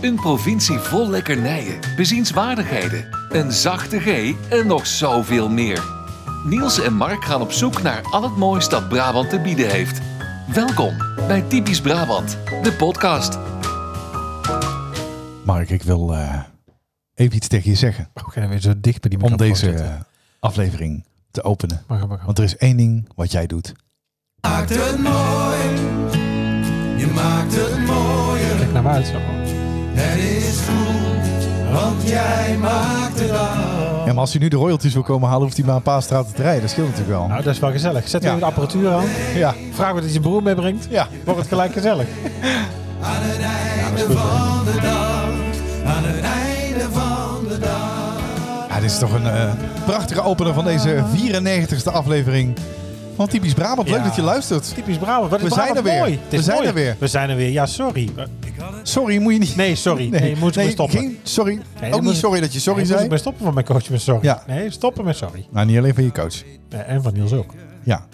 Een provincie vol lekkernijen, bezienswaardigheden, een zachte G en nog zoveel meer. Niels en Mark gaan op zoek naar al het moois dat Brabant te bieden heeft. Welkom bij Typisch Brabant, de podcast. Mark, ik wil eh, even iets tegen je zeggen. We gaan weer zo dicht bij die Om microfoon deze zitten. eh, aflevering te openen. Maar ga maar gaan. Want er is één ding wat jij doet. maakt het mooi. Je maakt het mooier. Kijk naar me uit zo. Het is goed, want jij maakt het af. Ja, maar als hij nu de royalties wil komen halen, hoeft hij maar een paar straten te rijden. Dat scheelt natuurlijk wel. Nou, dat is wel gezellig. Zet Ja. even de apparatuur aan. Ja, Vraag wat je broer meebrengt. ja. Wordt het gelijk gezellig. Aan het einde van de dag. Aan het einde van de dag. ja dit is toch een eh, prachtige opener van deze 94ste aflevering van Typisch Brabant. Leuk Ja. dat je luistert. Typisch Brabant. Wat is We zijn Brabant er weer. mooi. Het is We zijn mooi. er weer. We zijn er weer. Ja, sorry. Eh, Sorry, moet je niet... Nee, sorry. Nee, moet ik maar stoppen. geen sorry. dan Ook moet niet ik- sorry dat je sorry nee, Moet zei. ik maar stoppen van mijn coach met sorry. Ja. Nee, stoppen met sorry. Nou, niet alleen van je coach. Eh, En van Niels ook. Ja.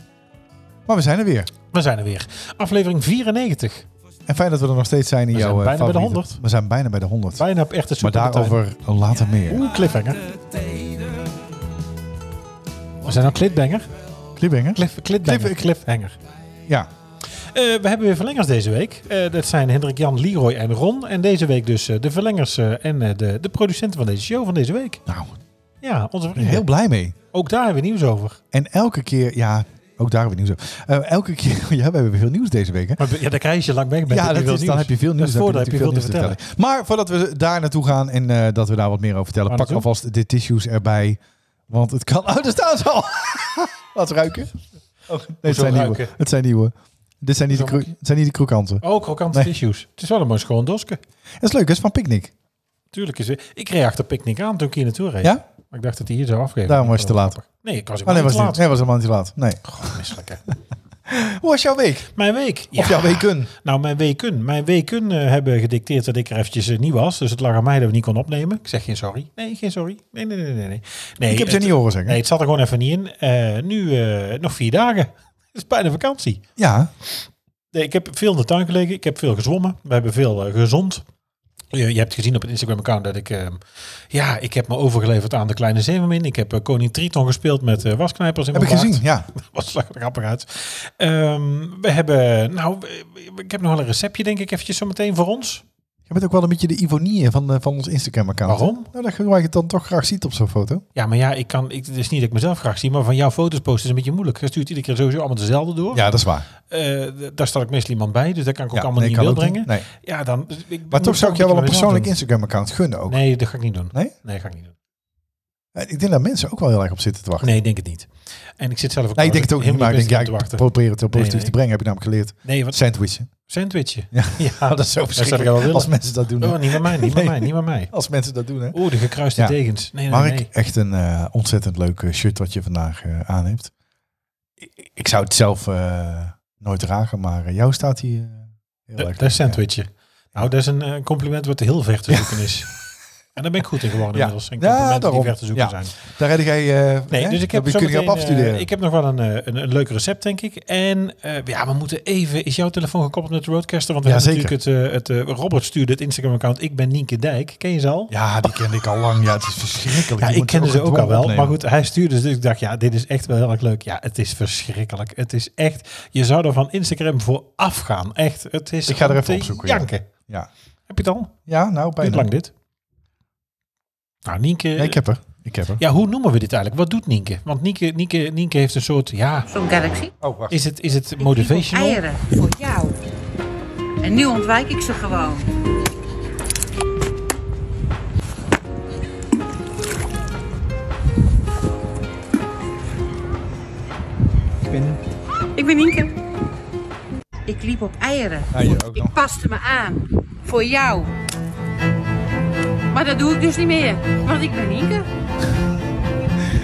Maar we zijn er weer. We zijn er weer. Aflevering 94. En fijn dat we er nog steeds zijn in We jouw zijn eh, bijna bij de favoriete- 100. We zijn bijna bij de 100. Bijna op echte Maar superpartij. daarover later meer. Oeh, cliffhanger. We zijn al cliffhanger. Kliebinger? Cliff, cliffhanger. Cliff- cliffhanger. Ja. Eh, we hebben weer verlengers deze week. Eh, dat zijn Hendrik, Jan, Leroy en Ron. En deze week dus eh, de verlengers eh, en eh, de, de producenten van deze show van deze week. Nou, Ja, onze ik ben vrienden. heel blij mee. Ook daar hebben we nieuws over. En elke keer, ja, ook daar hebben we nieuws over. Eh, elke keer, ja, we hebben veel nieuws deze week. Hè? Maar ja, daar krijg je als je lang weg bent. ja, dat veel is, dan heb je veel nieuws. Dat is dan voordeel, heb je veel te natuurlijk vertellen. Maar voordat we daar naartoe gaan en eh, dat we daar wat meer over vertellen, Waar pak naartoe? alvast de tissues erbij. Want het kan. Oh, daar staan ze al. Laat ze ruiken. Oh, Nee, het zijn nieuwe. ruiken? Het zijn nieuwe. Dit zijn niet de, Hoezo kro- het zijn niet de krokkanten. Oh, krokante Nee. tissues. Het is wel een mooi schoon doske. Dat is leuk, dat is van Picnic. Tuurlijk is het. Ik reed achter Picnic aan toen ik hier naartoe reed. Ja? Maar ik dacht dat hij hier zou afgeven. Daarom was je Ik te vond laat. het grappig. Nee, ik was Oh, nee, helemaal was het niet te niet. laat. Nee, was helemaal niet te laat. Nee. Goh, misselijk, hè. Hoe was jouw week? Mijn week. Of jouw weken? Nou, mijn weken. Mijn weken eh, hebben gedicteerd dat ik er eventjes eh, niet was. Dus het lag aan mij dat we niet kon opnemen. Ik zeg geen sorry. Nee, geen sorry. Nee, nee, nee, nee. nee. nee Ik heb ze het- niet horen zeggen. Nee, het zat er gewoon even niet in. Eh, nu eh, nog vier dagen. Het is bijna vakantie. Ja. Nee, ik heb veel in de tuin gelegen. Ik heb veel gezwommen. We hebben veel eh, gezond. Je, je hebt gezien op het Instagram-account dat ik... eh, ja, ik heb me overgeleverd aan de kleine zeemermin. Ik heb eh, Koning Triton gespeeld met eh, wasknijpers in Heb ik mijn baard. gezien, ja. Wat zag er grappig uit. Ehm, we hebben, nou, ik heb nog wel een receptje denk ik eventjes zo meteen voor ons. Je bent ook wel een beetje de ironie van, eh, van ons Instagram-account. Waarom? Nou, dat je het dan toch graag ziet op zo'n foto. Ja, maar ja, ik kan, ik, het is niet dat ik mezelf graag zie, maar van jouw foto's posten is een beetje moeilijk. Je stuurt iedere keer sowieso allemaal dezelfde door. Ja, dat is waar. Eh, d- daar staat ik meestal iemand bij, dus dat kan ik ook Ja, allemaal nee, niet in kan beeld ook niet. brengen. Nee. Ja, dan, dus ik Maar moet toch zou ik jou wel een beetje bij mezelf persoonlijk doen. Instagram-account gunnen ook. Nee, dat ga ik niet doen. Nee? Nee, dat ga ik niet doen. Eh, Ik denk dat mensen ook wel heel erg op zitten te wachten. Nee, ik denk het niet. En ik zit zelf ook Nee, ik denk het ook trouwens niet, maar ik denk, helemaal ja, best aan ik te wachten. probeer het heel positief nee. te brengen, heb ik namelijk geleerd. Nee, want Sandwichen. sandwichje. Ja. dat is zo Verschrikkelijk. als mensen dat doen. hè. Oh, niet met mij, niet met Nee. mij, niet met mij. Als mensen dat doen, hè. Oeh, de gekruiste Ja. tegens. Nee, nee, Mark, nee. echt een eh, ontzettend leuk eh, shirt wat je vandaag eh, aan hebt. Ik, ik zou het zelf eh, nooit dragen, maar eh, jou staat hier eh, heel Dat erg. dat is sandwichje. Nou, dat is een eh, compliment wat heel ver te zoeken is. En daar ben ik goed in geworden Ja. inmiddels. En Ja, complimenten die daarom. ver te zoeken Ja. zijn. Ja. Daar redde jij... eh, Nee, hè? dus ik heb, Daar kun je op zometeen, eh, afstuderen. ik heb nog wel een, eh, een, een leuk recept, denk ik. En eh, ja, we moeten even... Is jouw telefoon gekoppeld met de Roadcaster? Want we Ja, hebben zeker. natuurlijk het... eh, het eh, Robert stuurde het Instagram-account Ik ben Nienke Dijk. Ken je ze al? Ja, die kende ik al lang. Ja, het is verschrikkelijk. Ja, Je ik moet kende ze ook al gedwongen wel. opnemen. Maar goed, hij stuurde dus. Ik dacht, ja, dit is echt wel heel erg leuk. Ja, het is verschrikkelijk. Het is echt... Je zou er van Instagram voor afgaan. Echt. Het is Ik ga er om even te opzoeken, ja. Janken. Ja. Heb je het al? Ja, nou, Duurt bijna. lang dit. Nou, Nienke... Nee, ik heb er. Ik heb er. Ja, hoe noemen we dit eigenlijk? Wat doet Nienke? Want Nienke, Nienke, Nienke heeft een soort... Ja, Zo'n galaxy. Oh, wacht. is het, is het Die motivational? Eieren voor jou. En nu ontwijk ik ze gewoon. Ik ben Nienke. Ik liep op eieren. Ja, hier ook nog. Ik paste me aan. Voor jou. Maar dat doe ik dus niet meer. Want ik ben Nienke.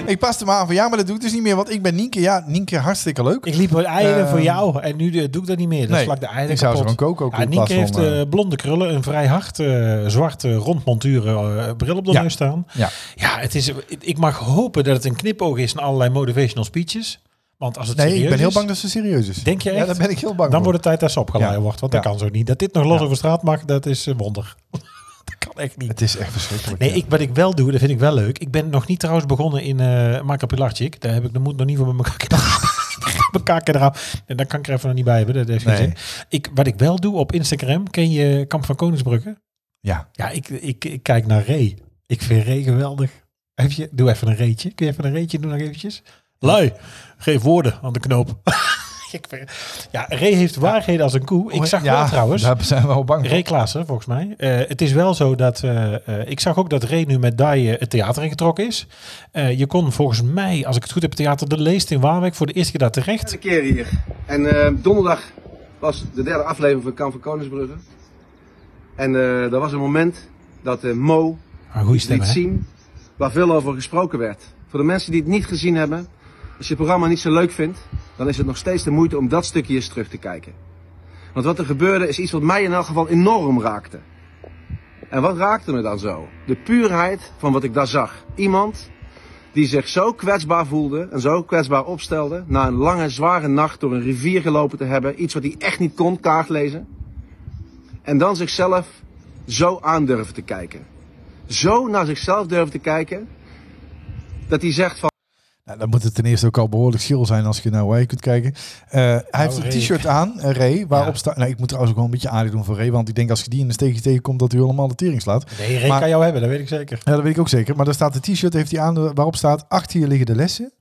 Ik paste me aan van ja, maar dat doe ik dus niet meer. Want ik ben Nienke. Ja, Nienke, hartstikke leuk. Ik liep met eieren Ehm, voor jou en nu eh, doe ik dat niet meer. Dan nee, slak de eieren ik zou ze kapot. gewoon koken ook Ja, in Nienke plaats heeft van, eh, eh, blonde krullen, een vrij hard eh, zwart eh, rond monturen eh, bril op de Ja. neus staan. Ja. Ja, het is, ik mag hopen dat het een knipoog is naar allerlei motivational speeches. Want als het Nee, serieus ik ben heel is, bang dat ze serieus is. Denk je Ja, echt? daar ben ik heel bang dan voor. wordt het tijd dat ze opgeleid Ja. wordt. Want Ja. dat kan zo niet. Dat dit nog los Ja. over straat mag, dat is een wonder. echt niet. Het is echt verschrikkelijk. Nee, ja. ik, wat ik wel doe, dat vind ik wel leuk. Ik ben nog niet trouwens begonnen in eh Marco Pilarczyk. Daar heb ik de moed nog niet voor met mijn kakken Mijn kaken eraf. En daar kan ik er even nog niet bij hebben. Dat heeft geen Nee. zin. Ik, wat ik wel doe op Instagram, ken je Kamp van Koningsbrugge? Ja. Ja, ik, ik, ik kijk naar Ray. Ik vind Ray geweldig. Heb je, doe even een reetje. Kun je even een reetje doen nog eventjes? Lui, geef woorden aan de knoop. Ik vind- ja, Ray heeft waarheden als een koe. Oh, Ik zag wel trouwens. Daar zijn we al bang voor. Ray Klaassen, volgens mij. Eh, het is wel zo dat... eh, eh, ik zag ook dat Ray nu met Dai eh, het theater ingetrokken is. Eh, je kon volgens mij, als ik het goed heb, het theater De Leest in Waalwijk voor de eerste keer daar terecht. Derde keer hier. En eh, donderdag was de derde aflevering van Kamp van Koningsbrugge. En eh er was een moment dat eh, Mo Maar goede liet stem, hè? zien waar veel over gesproken werd. Voor de mensen die het niet gezien hebben, als je het programma niet zo leuk vindt, dan is het nog steeds de moeite om dat stukje eens terug te kijken. Want wat er gebeurde is iets wat mij in elk geval enorm raakte. En wat raakte me dan zo? De puurheid van wat ik daar zag. Iemand die zich zo kwetsbaar voelde en zo kwetsbaar opstelde na een lange, zware nacht door een rivier gelopen te hebben, iets wat hij echt niet kon, kaart lezen. En dan zichzelf zo aandurven te kijken zo naar zichzelf durft te kijken. Dat hij zegt van. Nou, dan moet het ten eerste ook al behoorlijk schil zijn als je naar Way kunt kijken. Eh, hij heeft Nou, Ray. een t-shirt aan, eh, Ray, waarop staat... Nou, ik moet trouwens ook wel een beetje aardig doen voor Ray, want ik denk als je die in een steekje tegenkomt dat hij helemaal de tering slaat. Nee, Ray Maar- kan jou hebben, dat weet ik zeker. Ja, dat weet ik ook zeker. Maar daar staat de t-shirt heeft hij aan eh, waarop staat... Achter je liggen de lessen,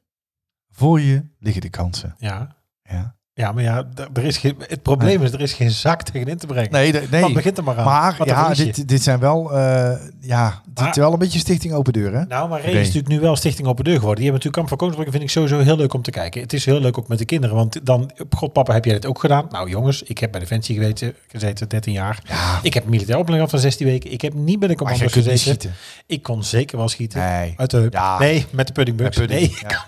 voor je liggen de kansen. Ja, Ja. ja maar ja, d- er is geen, het probleem is, er is geen zak tegenin te brengen. Nee, de- Wat nee. Oh, begint er maar aan? Maar Wat een ja, verliesje. dit, dit zijn wel, eh, ja, dit Maar- is wel een beetje stichting open deur, hè? Nou, maar Ray Oké. is natuurlijk nu wel Stichting Open Deur geworden. Die hebben natuurlijk Kamp van Koningsbrugge, vind ik sowieso heel leuk om te kijken. Het is heel leuk ook met de kinderen, want dan, god papa, heb jij dit ook gedaan? Nou jongens, ik heb bij Defensie geweten, gezeten, 13 jaar. Ik heb militair opleiding gehad van 16 weken. Ik heb niet bij de Maar jij commando's kunt niet gezeten. schieten. Ik kon zeker wel schieten. Nee. Uit de heup. Ja. Nee, met de puddingbug. Met pudding, nee,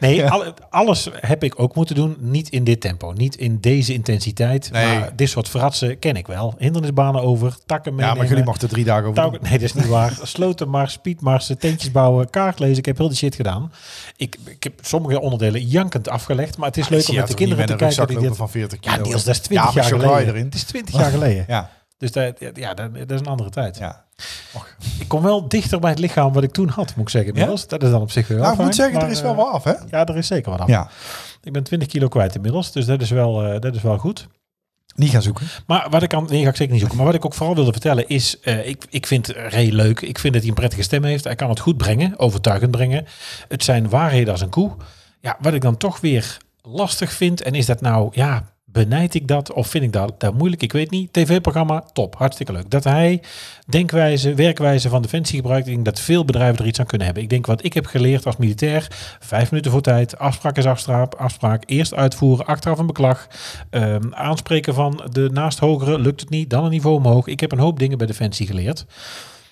nee, nee alle- alles heb ik ook moeten doen. Niet in dit tempo, niet in deze intensiteit. Nee. Maar dit soort fratsen ken ik wel. Hindernisbanen over, takken meenemen. Ja, maar jullie mochten er drie dagen over Touw- doen. nee, dat is niet waar. Slotenmars, speedmarsen, tentjes bouwen, kaart lezen. Ik heb heel die shit gedaan. Ik, ik heb sommige onderdelen jankend afgelegd. Maar het is leuk om Ja, met de kinderen te met een kijken. rugzak Die lopen dit, van 40 kilo. ja, deels, dat is 20 Ja, jaar met chocolade geleden. erin. Het is 20 jaar geleden. Ja, Dus dat, ja, dat, dat is een andere tijd. ja. Ik kom wel dichter bij het lichaam wat ik toen had, moet ik zeggen. Inmiddels. Dat is dan op zich wel Nou, ik fijn, moet zeggen, er maar, is wel eh, wat af, hè? Ja, er is zeker wat aan. Ja, Ik ben 20 kilo kwijt inmiddels, dus dat is wel, eh, dat is wel goed. niet gaan zoeken. Maar wat ik aan, nee, ga ik zeker niet zoeken. Maar wat ik ook vooral wilde vertellen is, eh, ik, ik vind Ray leuk. Ik vind dat hij een prettige stem heeft. Hij kan het goed brengen, overtuigend brengen. Het zijn waarheden als een koe. Ja, wat ik dan toch weer lastig vind, en is dat nou, ja, benijd ik dat of vind ik dat, dat moeilijk? Ik weet niet. TV-programma, top, hartstikke leuk. Dat hij denkwijze, werkwijze van Defensie gebruikt, ik denk dat veel bedrijven er iets aan kunnen hebben. Ik denk wat ik heb geleerd als militair, vijf minuten voor tijd, afspraak is afspraak, afspraak eerst uitvoeren, achteraf een beklag, ehm, aanspreken van de naast hogere, lukt het niet, dan een niveau omhoog. Ik heb een hoop dingen bij Defensie geleerd.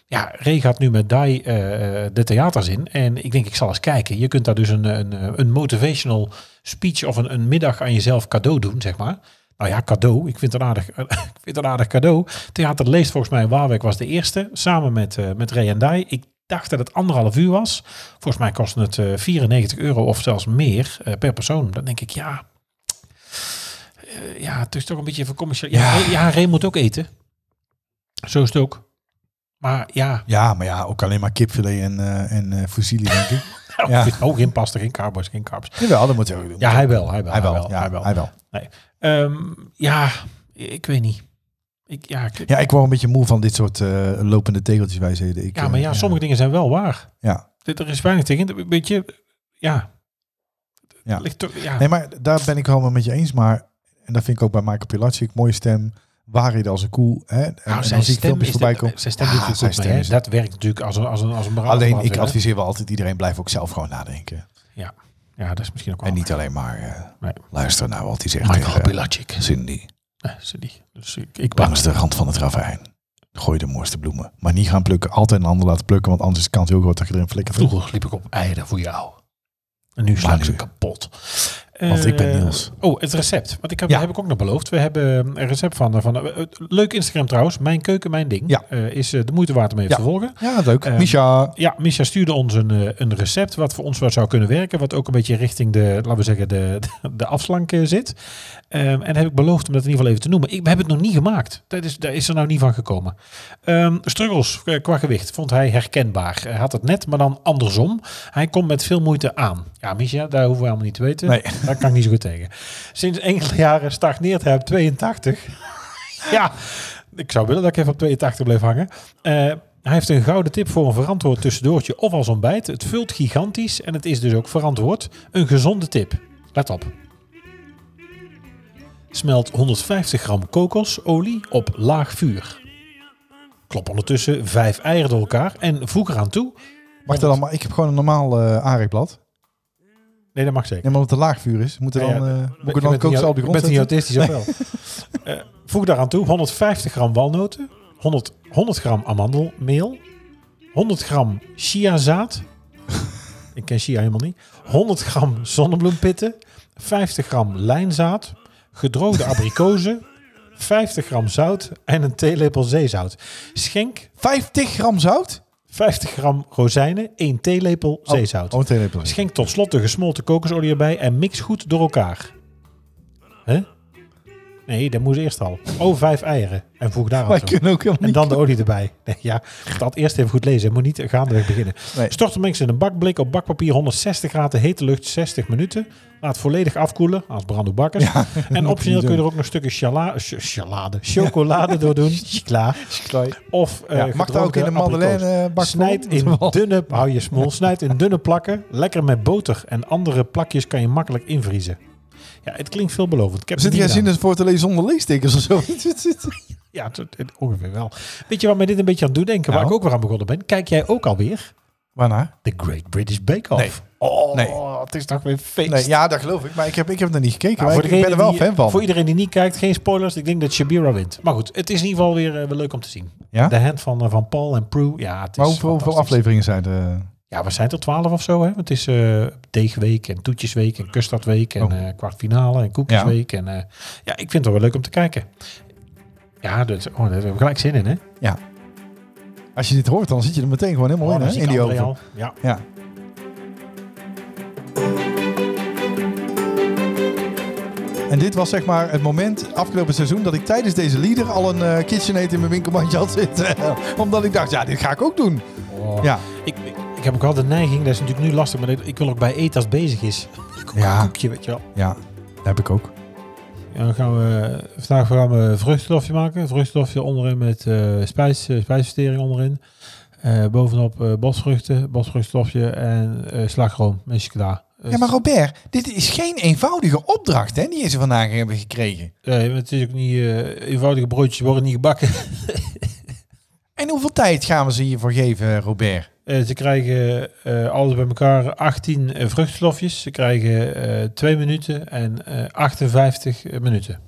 Ja, Ray gaat nu met Dai eh, eh, de theaters in. En ik denk, ik zal eens kijken. Je kunt daar dus een, een, eh, een motivational speech of een, een middag aan jezelf cadeau doen, zeg maar. Nou ja, cadeau. Ik vind het een aardig, ik vind het een aardig cadeau. Theater Leest volgens mij in Waalwijk was de eerste. Samen met, eh, met Ray en Dai. Ik dacht dat het anderhalf uur was. Volgens mij kostte het eh, 94 euro of zelfs meer eh, per persoon. Dan denk ik, ja... eh, ja, het is toch een beetje voor commercieel. Ja, Ray- ja, Ray moet ook eten. Zo is het ook. Maar ja, Ja, maar ja, ook alleen maar kipfilet en, eh en eh, fusilli, denk ik. Ja. Ja. Oh, geen pasta, geen carbo's, geen carbs. Jawel, dat moet hij ook doen. Ja, hij wel, hij wel. hij wel. Ja, hij wel. hij wel. Ehm, ja, ik weet niet. Ik, ja, ik- ja, Ja, ik word een beetje moe van dit soort eh, lopende tegeltjes, wij zeiden. Ik, eh, maar ja, sommige dingen zijn wel waar. Ja. Dit, er is weinig tegen. Weet je, ja. Ja. Ligt toch, ja. Nou, Nee, maar daar ben ik helemaal met je eens. Maar, en dat vind ik ook bij Michael Pilatschik, mooie stem. Waarheden als een koe. Hè? En, en Nou, dan zie ik filmpjes is voorbij de- komen. Zijn stem Ja, doet het zijn goed mee, stem hè. is- Dat werkt natuurlijk als een, als een, als een braaf Alleen, man, ik hè. adviseer wel altijd iedereen, blijf ook zelf gewoon nadenken. Ja, dat is misschien ook wel... En niet eh, alleen maar eh, Nee. luisteren naar wat hij zegt Michael tegen Pilacic. Cindy. Nee, ze niet. Dus ik, ik ben... Langs de rand van het ravijn. Gooi de mooiste bloemen. Maar niet gaan plukken. Altijd een ander laten plukken, want anders is de kans heel groot dat je erin flikkert. Vroeger liep ik op eieren voor jou. En nu sla ik Maar ze nu- kapot. Want ik ben Eh, Niels. Oh, het recept. Want ik heb, Ja. heb ik ook nog beloofd. We hebben eh, een recept van... eh, van eh, eh, leuk Instagram trouwens. Mijn keuken, mijn ding. Ja. Eh, is eh, de moeite waard om even Ja. te volgen. Ja, leuk. Ehm, Misha. Ja, Misha stuurde ons een, eh, een recept wat voor ons wel zou kunnen werken. Wat ook een beetje richting de, laten we zeggen, de, de, de afslank eh, zit. Ehm, en heb ik beloofd om dat in ieder geval even te noemen. Ik, we hebben het nog niet gemaakt. Dat is, daar is er nou niet van gekomen. Ehm, struggles eh, qua gewicht vond hij herkenbaar. Hij had het net, maar dan andersom. Hij komt met veel moeite aan. Ja, Misha, daar hoeven we allemaal niet te weten. Nee. Daar kan ik niet zo goed tegen. Sinds enkele jaren stagneert hij op 82. ja, ik zou willen dat ik even op 82 bleef hangen. Eh, hij heeft een gouden tip voor een verantwoord tussendoortje of als ontbijt. Het vult gigantisch en het is dus ook verantwoord. Een gezonde tip. Let op. Smelt 150 gram kokosolie op laag vuur. Klop ondertussen vijf eieren door elkaar en voeg eraan toe. Mag dat allemaal? Ik heb gewoon een normaal eh aanreekblad. Nee, dat mag zeker. Ja, maar omdat het laag vuur is, moet er Ja, ja, dan, eh moet ik er dan Je bent niet kookzaal au- op de grond Je bent niet zetten? autistisch, of wel? Eh, voeg daaraan toe 150 gram walnoten, 100, 100 gram amandelmeel, 100 gram chiazaad. ik ken chia helemaal niet. 100 gram zonnebloempitten, 50 gram lijnzaad, gedroogde abrikozen, 50 gram zout en een theelepel zeezout. Schenk 50 gram zout? 50 gram rozijnen, 1 theelepel zeezout. Oh, meteen even. Schenk tot slot de gesmolten kokosolie erbij en mix goed door elkaar. Hè? Nee, dat moest eerst al. Oh, vijf eieren. En voeg daar aan Wij toe. kunnen ook helemaal En niet. dan de olie erbij. Nee, ja, dat eerst even goed lezen. Moet niet gaandeweg beginnen. Nee. Stort de mengsel in een bakblik op bakpapier 160 graden hete lucht 60 minuten. Laat volledig afkoelen als brando bakkers. en optioneel kun je er ook nog stukken chala, ch- chalade, chocolade door doen. Klaar. Of eh, Ja, mag daar ook in gedroogde een madeleine eh, bak Snijd voor? in dunne, hou je smol, snijd in dunne plakken. Lekker met boter en andere plakjes kan je makkelijk invriezen. Ja, het klinkt veelbelovend. Ik heb Zit het jij niet zin gedaan. in voor te lezen zonder leestekens of zo? Ja, het- het- ongeveer wel. Weet je waar mij dit een beetje aan doet denken, waar Nou. ik ook weer aan begonnen ben? Kijk jij ook alweer Waarna? The Great British Bake Off? Nee. Oh, Nee. het is toch weer feest. Nee, ja, dat geloof ik. Maar ik heb, ik heb er niet gekeken. Nou, maar ik ik ben er wel die, fan van. Voor iedereen die niet kijkt, geen spoilers. Ik denk dat Shabira wint. Maar goed, het is in ieder geval weer eh, wel leuk om te zien. Ja? De hand van, eh, van Paul en Prue. Ja, het is maar hoeveel, hoeveel fantastisch. afleveringen zijn er? Ja, we zijn tot 12 of zo. Hè? Want het is eh, deegweek en toetjesweek en custardweek en Oh. eh, kwartfinale en koekjesweek. En, eh, ja, ik vind het wel weer leuk om te kijken. Ja, dat, oh, daar hebben we gelijk zin in, hè? Als je dit hoort, dan zit je er meteen gewoon helemaal Oh, in, dan hè? zie In ik die André oven. al. Ja. Ja. En dit was zeg maar het moment afgelopen seizoen dat ik tijdens deze lieder al een eh KitchenAid in mijn winkelmandje had zitten. Omdat ik dacht, ja, dit ga ik ook doen. Oh. Ja. Ik, ik, ik heb ook wel de neiging, dat is natuurlijk nu lastig, maar ik, ik wil ook bij eten als het bezig is. Ik wil Ja. Een koekje, weet je wel. Ja, dat heb ik ook. Ja, dan gaan we, eh, vandaag gaan we een vruchtstofje maken. Een vruchtstofje onderin met eh spijs, eh, spijsvertering onderin. Eh, bovenop eh, bosvruchten, bosvruchtstofje en eh slagroom met chocola. Eh, Ja, maar Robert, dit is geen eenvoudige opdracht hè, die ze vandaag hebben gekregen. Nee, maar Dus, het is ook niet eh, eenvoudige broodjes worden niet gebakken. En hoeveel tijd gaan we ze hiervoor geven, Robert? Eh, ze krijgen eh, alles bij elkaar 18 eh, vruchtstofjes. Ze krijgen eh 2 minuten en eh, 58 minuten.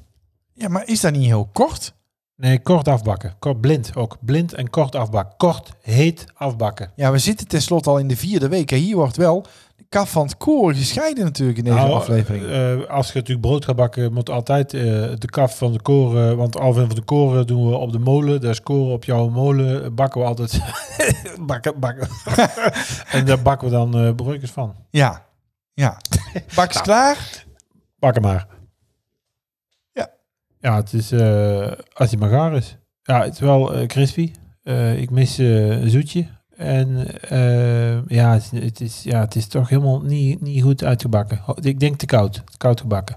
Ja, maar is dat niet heel kort? Nee, kort afbakken. Kort, blind ook. Blind en kort afbakken. Kort, heet afbakken. Ja, we zitten tenslotte al in de vierde week. En hier wordt wel de kaf van het koor gescheiden natuurlijk in deze Nou, aflevering. eh, als je natuurlijk brood gaat bakken, moet altijd eh, de kaf van de koren. Want Alvin van de koren doen we op de molen. Daar is koren op jouw molen. eh, Bakken we altijd. bakken, bakken. en daar bakken we dan eh broodjes van. Ja, ja. Bak is klaar. Pak hem maar. Ja. Ja, het is eh als hij maar gaar is. Ja, het is wel eh, crispy. Eh, ik mis eh, een zoetje. En eh, ja, het, is- het is, ja, het is toch helemaal niet, niet goed uitgebakken. Ho- Ik denk te koud. Koud gebakken.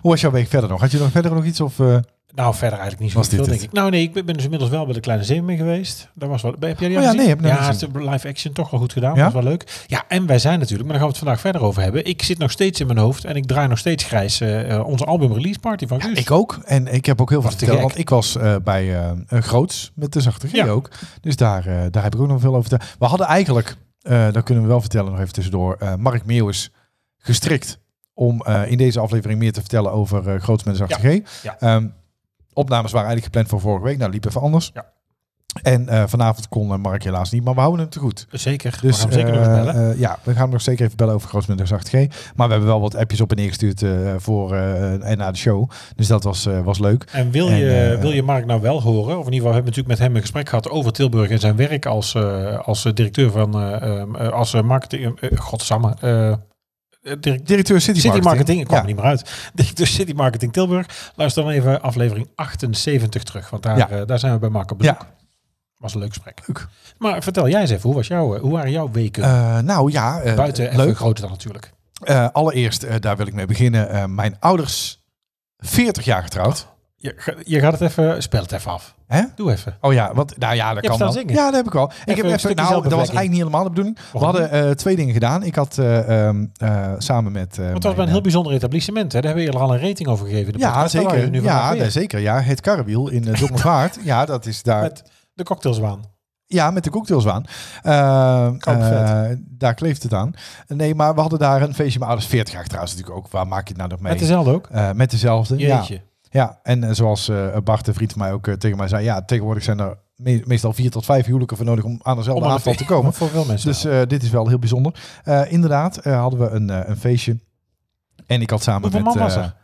Hoe was jouw week verder nog? Had je nog verder nog iets? Of, eh, Nou, verder eigenlijk niet zo Was veel, dit denk het? ik. Nou nee, ik ben ben dus inmiddels wel bij de Kleine Zeemermin geweest. Daar was wel, heb jij die Oh al ja, gezien? nee, heb ik nog Ja, niet het gezien. is live action toch wel goed gedaan. Ja? Dat was wel leuk. Ja, en wij zijn natuurlijk, maar daar gaan we het vandaag verder over hebben. Ik zit nog steeds in mijn hoofd en ik draai nog steeds grijs eh, eh, onze album release party van Guus. ik ook. En ik heb ook heel veel Was te te vertellen. gek. Want ik was eh, bij eh, een Groots met de Zachte G Ja. ook. Dus daar, eh, daar heb ik ook nog veel over te We hadden eigenlijk, eh dat kunnen we wel vertellen nog even tussendoor, eh, Mark Meeuwis gestrikt om eh, in deze aflevering meer te vertellen over eh, Groots met de Zachte G. Ja. Ehm, opnames waren eigenlijk gepland voor vorige week. Nou, liep even anders. Ja. En eh, vanavond kon eh, Mark helaas niet, maar we houden hem te goed. Zeker. Dus we gaan hem zeker nog eens eh, bellen. eh, ja, we gaan hem nog zeker even bellen over Grootmiddag 8G. Maar we hebben wel wat appjes op en neergestuurd eh, voor eh, en na de show. Dus dat was, eh, was leuk. En wil, en, je, eh, wil je Mark nou wel horen? Of in ieder geval, we hebben natuurlijk met hem een gesprek gehad over Tilburg en zijn werk als, eh, als eh, directeur van, eh, ehm, eh, als eh, marketing, eh, eh, godsamme, eh, eh, direct- Directeur City, City Marketing, ik kwam Ja. er niet meer uit. Directeur City Marketing Tilburg. Luister dan even aflevering 78 terug, want daar, Ja. eh, daar zijn we bij Mark op bezoek. Ja. Was een leuk gesprek. Leuk. Maar vertel jij eens even, hoe, was jouw, eh, hoe waren jouw weken? Eh, nou ja, eh, Buiten even leuk. groter dan natuurlijk. Eh, allereerst, eh, daar wil ik mee beginnen. Eh, mijn ouders, 40 jaar getrouwd. Je, ga- je gaat het even, spel het even af. Hè? Doe even. Oh ja, want nou ja, dat Je hebt kan staan wel. zingen. Ja, dat heb ik wel. ik heb een even, stukje nou, dat was zelfbevlekking. eigenlijk niet helemaal de bedoeling. We Waarom hadden eh, twee dingen gedaan. Ik had eh, ehm, eh, samen met. eh, Want dat was mijn, bij een eh, heel bijzonder etablissement. Hè? Daar hebben we eerder al een rating over gegeven. in de Ja, podcast. Daar waren zeker. jullie nu ja, dus- vandaag nee, weer. zeker. Ja, het karrewiel in uh, Dokmervaart. ja, dat is daar. Met de cocktailswaan. Ja, met de cocktailswaan. Eh, Koud eh, daar kleeft het aan. Nee, maar we hadden daar een feestje. Mijn ouders 40 jaar trouwens natuurlijk ook. Waar maak je het nou nog mee? Met dezelfde ook. Eh, met dezelfde. Ja, Jeetje. ja. en eh, zoals eh, Bart de vriend van mij ook eh, tegen mij zei. Ja, tegenwoordig zijn er me- meestal vier tot vijf huwelijken voor nodig om aan dezelfde aan de aantal fe- te komen. Voor veel mensen. Dus wel. eh, dit is wel heel bijzonder. Eh, inderdaad, eh, hadden we een, eh, een feestje. En ik had samen Hoeveel met... man was eh, er?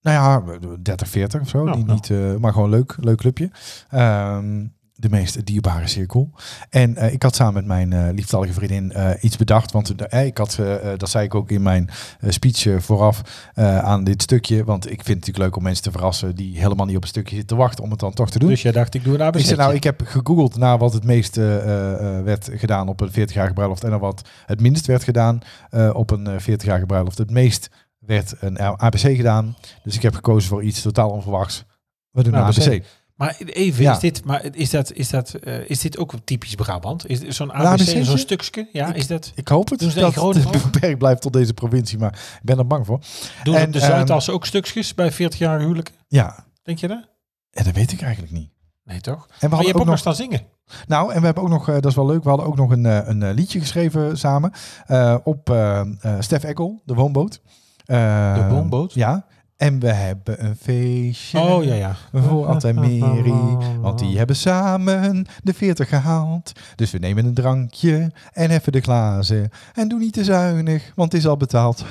Nou ja, 30, 40 of zo. Nou, die nou. Niet, eh, maar gewoon leuk, leuk clubje. Ehm, de meest dierbare cirkel. En eh, ik had samen met mijn eh lieftallige vriendin eh, iets bedacht. Want eh, ik had, eh, eh, dat zei ik ook in mijn eh, speech eh, vooraf eh, aan dit stukje. Want ik vind het natuurlijk leuk om mensen te verrassen die helemaal niet op een stukje zitten te wachten om het dan toch te doen. Dus jij dacht, ik doe een ABC. Ik zei nou, ik heb gegoogeld naar wat het meest eh, eh, eh, werd gedaan op een 40-jarige bruiloft en naar wat het minst werd gedaan eh, op een eh, 40-jarige bruiloft. Het meest werd een ABC gedaan, dus ik heb gekozen voor iets totaal onverwachts. We doen een ABC. ABC. Maar even, Ja. is, dit, maar is, dat, is, dat, eh, is dit ook typisch Brabant? Is dit zo'n ABC, ABC'tje? zo'n stukje? Ja, is dat... Ik hoop het Doen ze dat in dat het Groningen ook? beperkt blijft tot deze provincie, maar ik ben er bang voor. Doen ze En, op de ehm, Zuidas ook stukjes bij 40-jarige huwelijken? Ja, Denk je dat? en dat weet ik eigenlijk niet. Nee, toch? Maar En we je hebt hadden ook ook nog nog, staan zingen. nou, en we hebben ook nog, eh, dat is wel leuk, we hadden ook nog een, eh, een eh, liedje geschreven samen eh, op eh eh, Stef Eckel, de woonboot. Eh, De woonboot? Ja. En we hebben een feestje. Oh, ja, ja. Voor Ad en Mary, want die hebben samen de 40 gehaald. Dus we nemen een drankje en heffen de glazen. En doe niet te zuinig, want het is al betaald.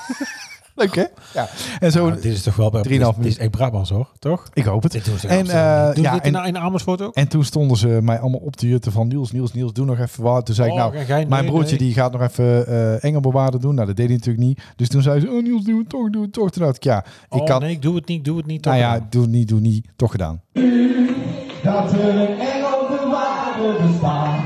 Leuk hè? Ja. En zo, Nou, dit is toch wel... Dit, Drieënhalf dit is echt Brabant, hoor. Toch? ik hoop het. Dit doen ze En, en, eh, Doen ja, ze dit in, en- in Amersfoort ook? En toen stonden ze mij allemaal op te jutten van Niels, Niels, Niels, doe nog even wat. Toen zei ik Oh, nou, ga jij- nee, mijn broertje nee. die gaat nog even eh engelbewaarder doen. Nou, dat deed hij natuurlijk niet. Dus toen zei ze, oh Niels, doe het toch, doe het toch. Toen dacht ik, ja, ik oh, kan, nee, ik doe het niet, ik doe het niet. nou toch ja, wel. doe het niet, doe het niet, toch gedaan. dat er een engel bewaarder bestaat.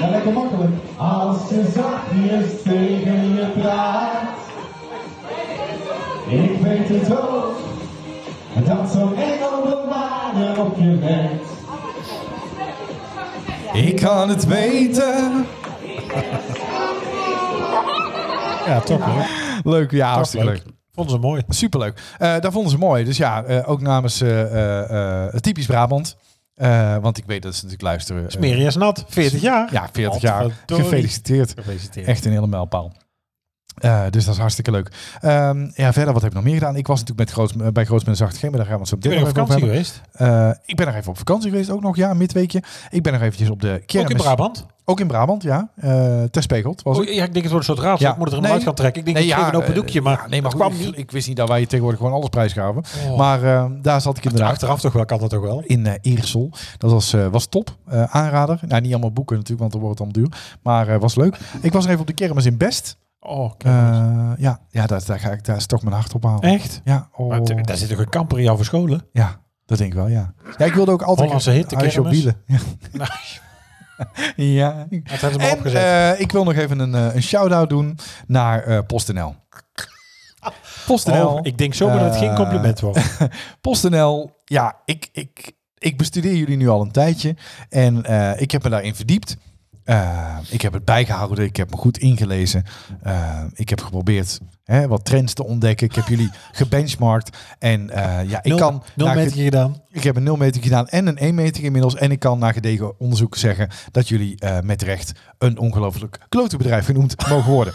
Ja, lekker makkelijk. Als je zachtjes tegen je praat. Ik weet het ook, dat zo'n engel bewaarder op je bent. Ik kan het weten. ja, toch hoor. Leuk, ja, hartstikke leuk. leuk. Vonden ze mooi. Superleuk. Eh dat vonden ze mooi. Dus ja, eh, ook namens eh, eh, eh, typisch Brabant. Eh, want ik weet dat ze natuurlijk luisteren. eh, Smeri is nat. 40 jaar. ja, 40 jaar. Gefeliciteerd. Gefeliciteerd. Echt een hele mijlpaal. Eh, dus dat is hartstikke leuk. Ehm, ja, verder, wat heb ik nog meer gedaan? Ik was natuurlijk met Groots, eh, bij Grootsmen Zacht Geen, maar daar gaan we het zo Ik meteen ben op nog even over vakantie hebben. geweest. Eh, ik ben nog even op vakantie geweest, ook nog, ja, een midweekje. Ik ben nog eventjes op de kermis. Ook in Brabant. Ook in Brabant, ja. Eh Terspegeld was Oh, ik. ja, ik denk het wordt een soort raadsel. Ja. Ik moet er een Nee. uit gaan trekken. Ik denk, Nee, ik ja, geef een open eh, doekje, maar, Ja, nee, maar het goed, kwam ik, niet. ik wist niet dat wij tegenwoordig gewoon alles prijsgaven. Oh. Maar eh, daar zat ik inderdaad Achteraf toch wel, kan dat toch wel. in eh, Eersel. Dat was, eh, was top. Eh, aanrader. Nou, niet allemaal boeken natuurlijk, want dan wordt het allemaal duur. Maar eh, was leuk. Ik was er even op de kermis in Best. Oh, Eh, kijk eens. ja, ja daar, daar, ga ik, daar is toch mijn hart op halen. Echt? Ja, oh. Maar t- daar zit toch een kamper in jou verscholen? ja, dat denk ik wel, ja. Ja, ik wilde ook altijd Hollandse hit, de huisje op kermis. wielen. Ja. Nou, ja. dat hebben ze maar En opgezet. Oh, eh, ik wil nog even een, eh, een shout-out doen naar eh, PostNL. PostNL. Oh, ik denk zomaar dat het geen eh, compliment wordt. PostNL, ja, ik, ik, ik bestudeer jullie nu al een tijdje. En eh, ik heb me daarin verdiept. Eh, ik heb het bijgehouden, ik heb me goed ingelezen. Eh, ik heb geprobeerd hè, wat trends te ontdekken. Ik heb jullie gebenchmarkt. En eh, ja, ik Nul, kan... nul na ge- meter gedaan. ik heb een 0 meter gedaan en een 1 meter inmiddels. En ik kan na gedegen onderzoek zeggen dat jullie eh, met recht een ongelooflijk klote bedrijf genoemd mogen worden.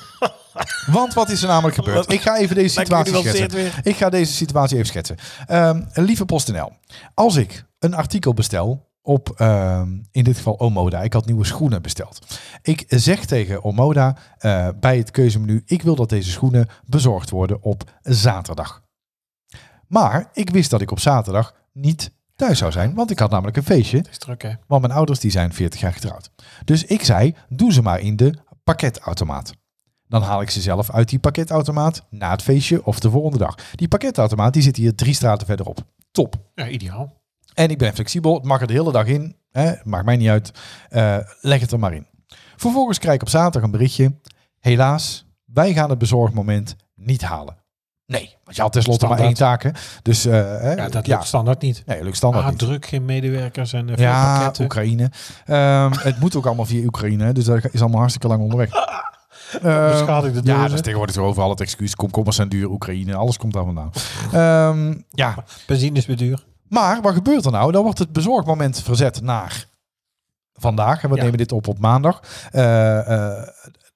Want wat is er namelijk gebeurd? Ik ga even deze Lijkt me situatie genuanceerd schetsen. Ik ga deze situatie even schetsen. Ehm, lieve PostNL, als ik een artikel bestel op, ehm, in dit geval Omoda, ik had nieuwe schoenen besteld. Ik zeg tegen Omoda eh, bij het keuzemenu, ik wil dat deze schoenen bezorgd worden op zaterdag. Maar ik wist dat ik op zaterdag niet thuis zou zijn, want ik had namelijk een feestje is druk, hè? want mijn ouders die zijn 40 jaar getrouwd. Dus ik zei, doe ze maar in de pakketautomaat. Dan haal ik ze zelf uit die pakketautomaat na het feestje of de volgende dag. Die pakketautomaat die zit hier drie straten verderop. Top. Ja, ideaal. En ik ben flexibel, het mag er de hele dag in. Hè, maakt mij niet uit. Eh, leg het er maar in. Vervolgens krijg ik op zaterdag een berichtje. Helaas, wij gaan het bezorgmoment niet halen. Nee, want je had tenslotte maar één Standaard. taken. Dus eh, hè, Ja, dat ja. lukt standaard niet. Nee, lukt standaard Ah, niet. druk, geen medewerkers en eh, veel Ja, pakketten. Oekraïne. Ehm, het moet ook allemaal via Oekraïne, hè, dus dat is allemaal hartstikke lang onderweg. Ehm, beschadigde ja, dozen. dat is tegenwoordig toch overal het excuus. Komkommers zijn duur, Oekraïne, alles komt daar vandaan. Ehm, ja, Benzine is weer duur. maar wat gebeurt er nou? Dan wordt het bezorgmoment verzet naar vandaag. En we Ja. nemen dit op op maandag. Eh, eh,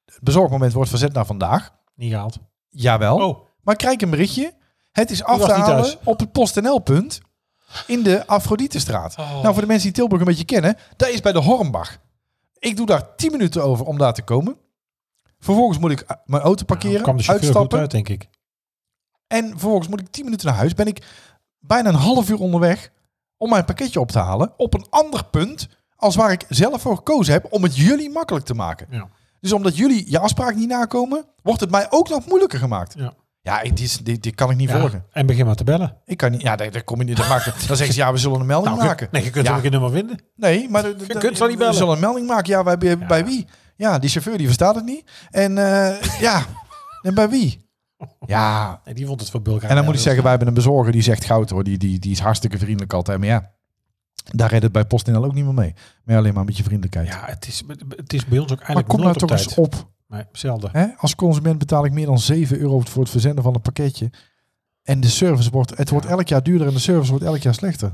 het bezorgmoment wordt verzet naar vandaag. Niet gehaald. Jawel. Oh, Maar ik krijg een berichtje. Het is af was te niet halen thuis. op het PostNL-punt in de Afroditestraat. Oh. Nou, voor de mensen die Tilburg een beetje kennen, dat is bij de Hormbach. Ik doe daar 10 minuten over om daar te komen. Vervolgens moet ik eh, mijn auto nou, parkeren, kwam de chauffeur goed uitstappen. uit, denk ik. En vervolgens moet ik 10 minuten naar huis. Ben ik bijna een half uur onderweg om mijn pakketje op te halen. Op een ander punt als waar ik zelf voor gekozen heb om het jullie makkelijk te maken. Ja. Dus omdat jullie je afspraak niet nakomen, wordt het mij ook nog moeilijker gemaakt. Ja. Ja, dit, is- dit, dit kan ik niet Ja, volgen. En begin maar te bellen. Ik kan niet. Ja, daar, daar kom je niet. Dat maakt, dan zeggen ze, ja, we zullen een melding Nou, maken. je- nee, je kunt Ja. ook een nummer vinden. Nee, maar de- de- Je kunt wel niet bellen. We zullen een melding maken. Ja, bij, bij, bij Ja. wie? Ja, die chauffeur die verstaat het niet. En eh, ja, en bij wie? Ja. Nee, die vond het voor Bulgaar. En dan moet ik zeggen, wij hebben een bezorger die zegt goud hoor. Die, die, die is hartstikke vriendelijk altijd. Maar ja, daar redt het bij PostNL ook niet meer mee. Maar alleen maar een beetje vriendelijkheid. Ja, het is, het is bij ons ook maar eigenlijk kom nooit nou op toch tijd. eens op. Nee, zelden. Hè? Als consument betaal ik meer dan 7 euro voor het verzenden van een pakketje. En de service wordt, het wordt elk jaar duurder en de service wordt elk jaar slechter.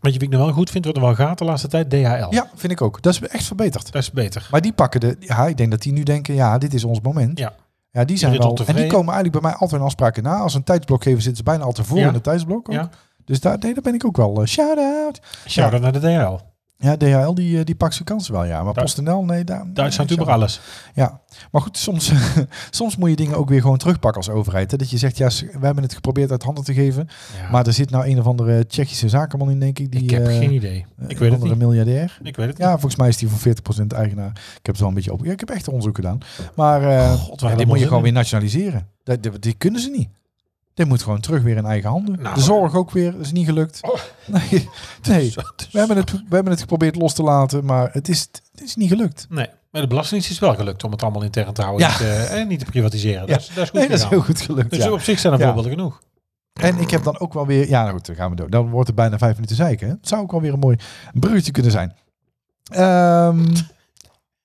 Weet je wie ik nou wel goed vind, wat er wel gaat de laatste tijd? DHL. Ja, vind ik ook. Dat is echt verbeterd. Dat is beter. Maar die pakken de. Ja, ik denk dat die nu denken: ja, dit is ons moment. Ja. Ja, die zijn Iedereen wel. En tevreden. die komen eigenlijk bij mij altijd in afspraken na. Als ze een tijdsblok geven, zitten ze bijna altijd voor Ja. in het tijdsblok. Ook. Ja. Dus daar, nee, daar ben ik ook wel. eh, Shout-out. Shout-out naar de DHL. Ja, DHL die, eh, die pakt zijn kansen wel, ja. Maar Daar- PostNL, nee, daar. Duitsland nee, over alles. Ja, maar goed, soms, soms moet je dingen ook weer gewoon terugpakken als overheid. Hè? Dat je zegt, ja, we hebben het geprobeerd uit handen te geven. Ja. Maar er zit nou een of andere Tsjechische zakenman in, denk ik. Die, ik heb eh, geen idee. Ik een weet het andere niet. miljardair. Ik weet het Ja, volgens mij is die voor 40% eigenaar. Ik heb het wel een beetje op. Ja, ik heb echt onderzoek gedaan. Maar eh God, waar ja, die hebben moet je we gewoon zin weer nationaliseren. Dat, dat- die kunnen ze niet. Dit moet gewoon terug weer in eigen handen. Nou. de zorg ook weer, is niet gelukt. Nee, nee. niet. Zo, We, hebben het, we hebben het geprobeerd los te laten, maar het is, het is niet gelukt. Nee, maar de Belastingdienst is wel gelukt om het allemaal intern te houden Ja. niet, eh, en niet te privatiseren. Ja. Dat, is, dat is goed Nee, dat is gegaan. heel goed gelukt. Dus Ja. op zich zijn er Ja. voorbeelden genoeg. En ik heb dan ook wel weer... Ja, nou goed, dan gaan we door. Dan wordt het bijna vijf minuten zeiken. Hè? Het zou ook wel weer een mooi bruggetje kunnen zijn. Ehm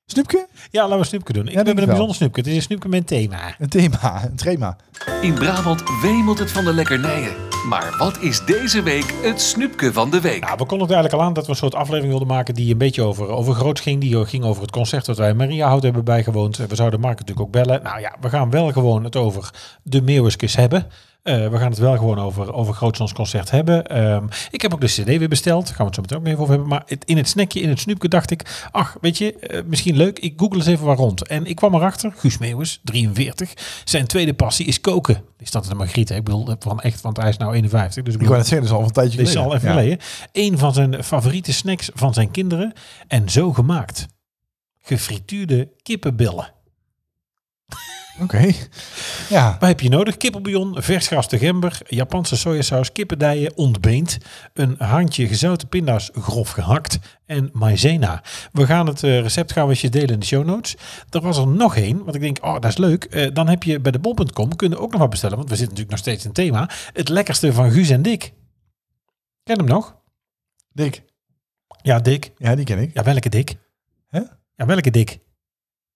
Snoepje? Ja, laten we snoepje doen. Ik, we denk hebben een ik wel. bijzonder snoepje. Het is een snoepje met een thema. Een thema, een thema. In Brabant wemelt het van de lekkernijen. Maar wat is deze week het snoepje van de week? Nou, we konden het eigenlijk al aan dat we een soort aflevering wilden maken die een beetje over, over groot ging. Die ging over het concert dat wij in Mariahout hebben bijgewoond. Eh, We zouden Mark natuurlijk ook bellen. Nou ja, we gaan wel gewoon het over de Meeuwiskes hebben. Eh, we gaan het wel gewoon over, over Grootsons concert hebben. Ehm, ik heb ook de cd weer besteld. Daar gaan we het zo meteen ook nog even over hebben. Maar het- in het snackje, in het snoepje dacht ik... Ach, weet je, eh, misschien leuk. Ik google eens even waar rond. En ik kwam erachter. Guus Meeuwis, 43. Zijn tweede passie is koken. Is dat een Margriet? hè? Ik bedoel, eh, van echt, want hij is nou 51. Dus ik Ik bedoel, wou net zeggen, dat is al een tijdje dit is geleden. al even Ja. geleden. Een van zijn favoriete snacks van zijn kinderen. En zo gemaakt. Gefrituurde kippenbillen. Oké. Ja. Wat heb je nodig? Kippenbouillon, vers geraspte gember, Japanse sojasaus, kippendijen, ontbeend, een handje gezouten pinda's grof gehakt en maizena. We gaan het eh, recept gaan we eens delen in de show notes. Er was er nog één, want ik denk, oh, dat is leuk. Eh, dan heb je bij de bol.com, kunnen ook nog wat bestellen, want we zitten natuurlijk nog steeds in thema. Het lekkerste van Guus en Dick. Ken hem nog? Dick. Ja, Dick. Ja, die ken ik. Ja, welke Dick? Hè? Ja, welke Dick?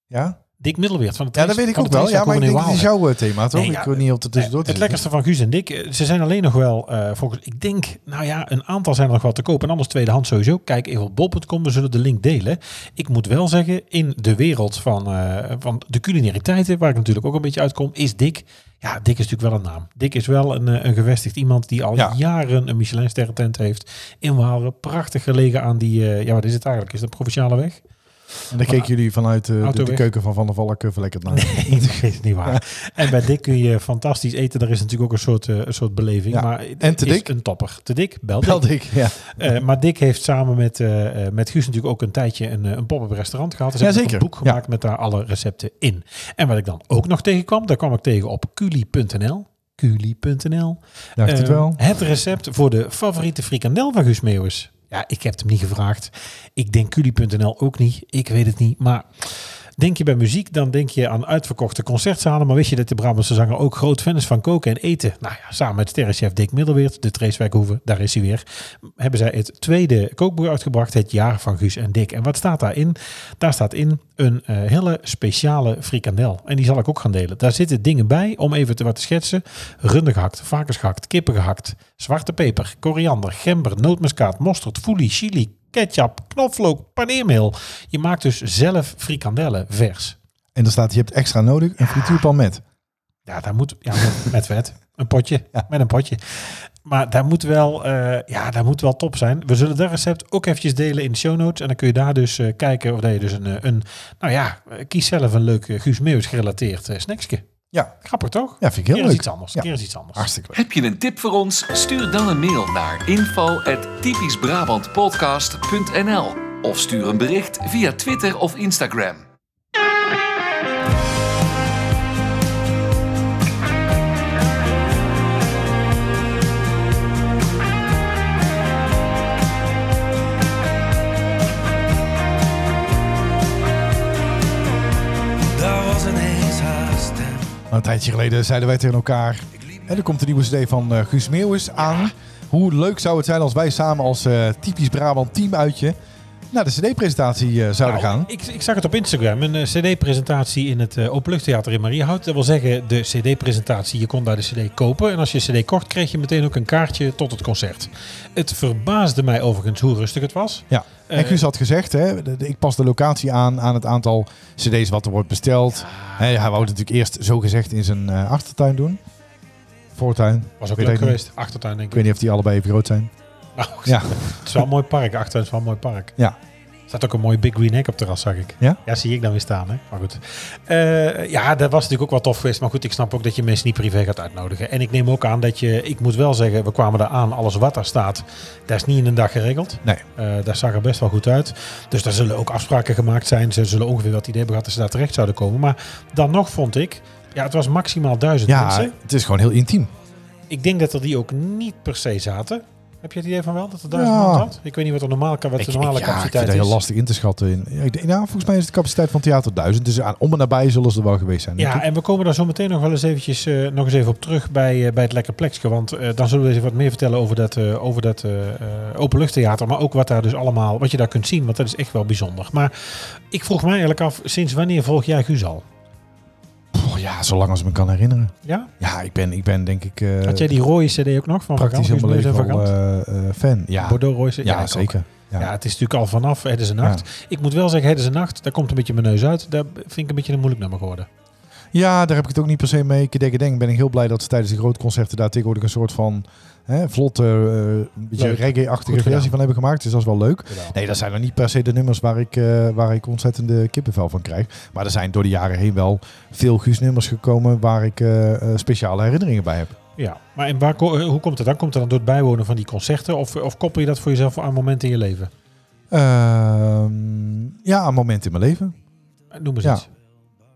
Ja? Dick Middelweert van de Ja, dat weet ik ook wel. Ja, maar ik denk, dat is jouw eh, thema, toch? Nee, ja, ik wil niet op de tussendoor het lekkerste van Guus en Dick, eh, ze zijn alleen nog wel, eh, volgens, ik denk, nou ja, een aantal zijn er nog wel te koop. En anders tweedehands sowieso. Kijk even op bol.com, we zullen de link delen. Ik moet wel zeggen, in de wereld van, eh, van de culinariteiten, waar ik natuurlijk ook een beetje uitkom, is Dick. Ja, Dick is natuurlijk wel een naam. Dick is wel een, eh, een gevestigd iemand die al Ja. jaren een michelin tent heeft in Waalre. Prachtig gelegen aan die, eh, ja, wat is het eigenlijk? Is dat een provinciale weg? En dan keken jullie vanuit eh, de, Autoweg. de keuken van Van der Valk eh, verlekkerd naar. Nee, dat is niet waar. En bij dik kun je fantastisch eten. Daar is natuurlijk ook een soort, eh, een soort beleving. Ja. Maar het En te is dik? Een topper. Te dik, bel dik. Belde ik, ja. Eh, maar Dick heeft samen met, eh, eh, met Guus natuurlijk ook een tijdje een, eh, een pop-up restaurant gehad. Ze hebben ook Jazeker, een boek ja. gemaakt met daar alle recepten in. En wat ik dan ook nog tegenkwam, daar kwam ik tegen op culi.nl. Culi.nl. Dacht het Eh, wel. Het recept voor de favoriete frikandel van Guus Meeuwis. Ja, ik heb het hem niet gevraagd. Ik denk culi.nl ook niet. Ik weet het niet. Maar denk je bij muziek, dan denk je aan uitverkochte concertzalen. Maar wist je dat de Brabantse zanger ook groot fan is van koken en eten? Nou ja, samen met sterrenchef Dick Middelweert, de Treeswijkhoeven, daar is hij weer. Hebben zij het tweede kookboek uitgebracht, Het Jaar van Guus en Dick. En wat staat daarin? Daar staat in een eh, hele speciale frikandel. En die zal ik ook gaan delen. Daar zitten dingen bij, om even te wat te schetsen. Runden gehakt, varkens gehakt, kippen gehakt, zwarte peper, koriander, gember, nootmuskaat, mosterd, foelie, chili, ketchup, knoflook, paneermeel. Je maakt dus zelf frikandellen vers. En dan staat, je hebt extra nodig, een frituurpan met. Ja, daar moet ja, met- met vet. Een potje. Met een potje. Maar daar moet, wel, eh, ja, daar moet wel top zijn. We zullen dat recept ook eventjes delen in de show notes. En dan kun je daar dus eh, kijken of dat je dus een, eh, een... Nou ja, eh, kies zelf een leuk eh, Guus Meeuwis gerelateerd eh, snacksje. Ja. Grappig toch? Ja, vind ik heel Keer is leuk. iets anders. Ja. Keer is iets anders. Hartstikke leuk. Heb je een tip voor ons? Stuur dan een mail naar info@typischbrabantpodcast.nl of stuur een bericht via Twitter of Instagram. Daar was ineens haast en Maar een tijdje geleden zeiden wij tegen elkaar... Hè, er komt een nieuwe CD van eh, Guus Meeuwis aan. Hoe leuk zou het zijn als wij samen als eh, typisch Brabant teamuitje... naar de CD-presentatie eh, zouden Nou, gaan. Ik, ik zag het op Instagram, een eh, cd-presentatie in het eh, Openluchttheater in Mariehout. Dat wil zeggen, de cd-presentatie, je kon daar de cd kopen. En als je cd kocht, kreeg je meteen ook een kaartje tot het concert. Het verbaasde mij overigens hoe rustig het was. Ja, en Eh, Guus had gezegd, hè, de- de- ik pas de locatie aan aan het aantal cd's wat er wordt besteld. Hè, hij wou het natuurlijk eerst zo gezegd in zijn eh, achtertuin doen. Voortuin. Was Ik weet ook leuk het niet. geweest. Achtertuin denk Ik ik. weet niet of die allebei even groot zijn. Nou, Ja, het is wel een mooi park. Achtertuin is wel een mooi park. Ja. Er staat ook een mooi Big Green Egg op het terras, zag ik. Ja? Ja, zie ik dan weer staan. Hè? Maar goed. Eh, ja, dat was natuurlijk ook wel tof geweest. Maar goed, ik snap ook dat je mensen niet privé gaat uitnodigen. En ik neem ook aan dat je... Ik moet wel zeggen, we kwamen daar aan. Alles wat daar staat, dat is niet in een dag geregeld. nee. Eh, daar zag er best wel goed uit. Dus daar zullen ook afspraken gemaakt zijn. Ze zullen ongeveer wat idee hebben gehad dat ze daar terecht zouden komen. Maar dan nog vond ik... Ja, het was maximaal duizend Ja, mensen. het is gewoon heel intiem. Ik denk dat er die ook niet per se zaten. Heb je het idee van wel dat er duizend Ja. man zat? Ik weet niet wat de normale, wat de Ik- ik- normale ja, ik vind capaciteit dat heel is. lastig in te schatten. In, ja, ik denk, nou, volgens mij is de capaciteit van theater 1000. Dus aan, om en nabij zullen ze er wel geweest zijn. Ja, denk ik. en we komen daar zo meteen nog wel eens eventjes eh, nog eens even op terug bij, eh, bij het Lekker Plekske. Want eh, dan zullen we eens even wat meer vertellen over dat, eh, over dat eh, eh, openluchttheater. Maar ook wat daar dus allemaal, wat je daar kunt zien. Want dat is echt wel bijzonder. Maar ik vroeg mij eigenlijk af, sinds wanneer volg jij Guus al? Poh, ja, zolang als ik me kan herinneren. Ja? Ja, ik ben, ik ben denk ik eh, Had jij die rode cd ook nog van praktisch Van helemaal Gaal? Guus Meeuwis leven en al Van Gaal? eh, eh, fan. Ja, Bordeaux rode cd? ja, ik ook. zeker. Ja. Ja, het is natuurlijk al vanaf Het is een Nacht. Ik moet wel zeggen, Het is een Nacht, daar komt een beetje mijn neus uit. Daar vind ik een beetje een moeilijk nummer geworden. Ja, daar heb ik het ook niet per se mee. Ik denk, ik denk ben ik heel blij dat ze tijdens de grootconcerten daar tegenwoordig een soort van hè, vlotte, eh, een beetje Leuk. reggae-achtige Goed gedaan. versie van hebben gemaakt. Dus dat is wel leuk. Nee, dat zijn dan niet per se de nummers waar ik, eh, waar ik ontzettende kippenvel van krijg. Maar er zijn door de jaren heen wel veel Guus-nummers gekomen waar ik eh, eh, speciale herinneringen bij heb. Ja, maar en waar, ko- eh, hoe komt het dan? Komt het dan door het bijwonen van die concerten? Of, of koppel je dat voor jezelf aan momenten in je leven? Ehm, ja, een moment in mijn leven. Eh, Noem eens Ja. iets.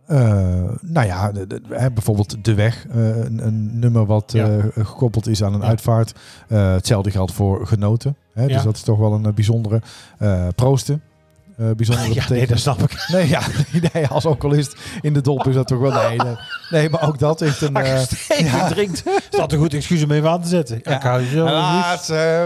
Eh, nou ja, de- de- hè, bijvoorbeeld De Weg, eh, een, een nummer wat Ja. eh, gekoppeld is aan een Ja. uitvaart. Eh, hetzelfde geldt voor Genoten. Hè, Ja. Dus dat is toch wel een eh, bijzondere. Eh, proosten. eh, bijzondere Ja, nee, betekenis. dat snap ik. Nee, ja, nee, als alcoholist in de dop is dat toch wel... Nee, nee, nee maar ook dat heeft een... Als je eh, stevig drinkt, is dat een goed excuus om even aan te zetten. Ik hou je zo lief. Helaas, eh,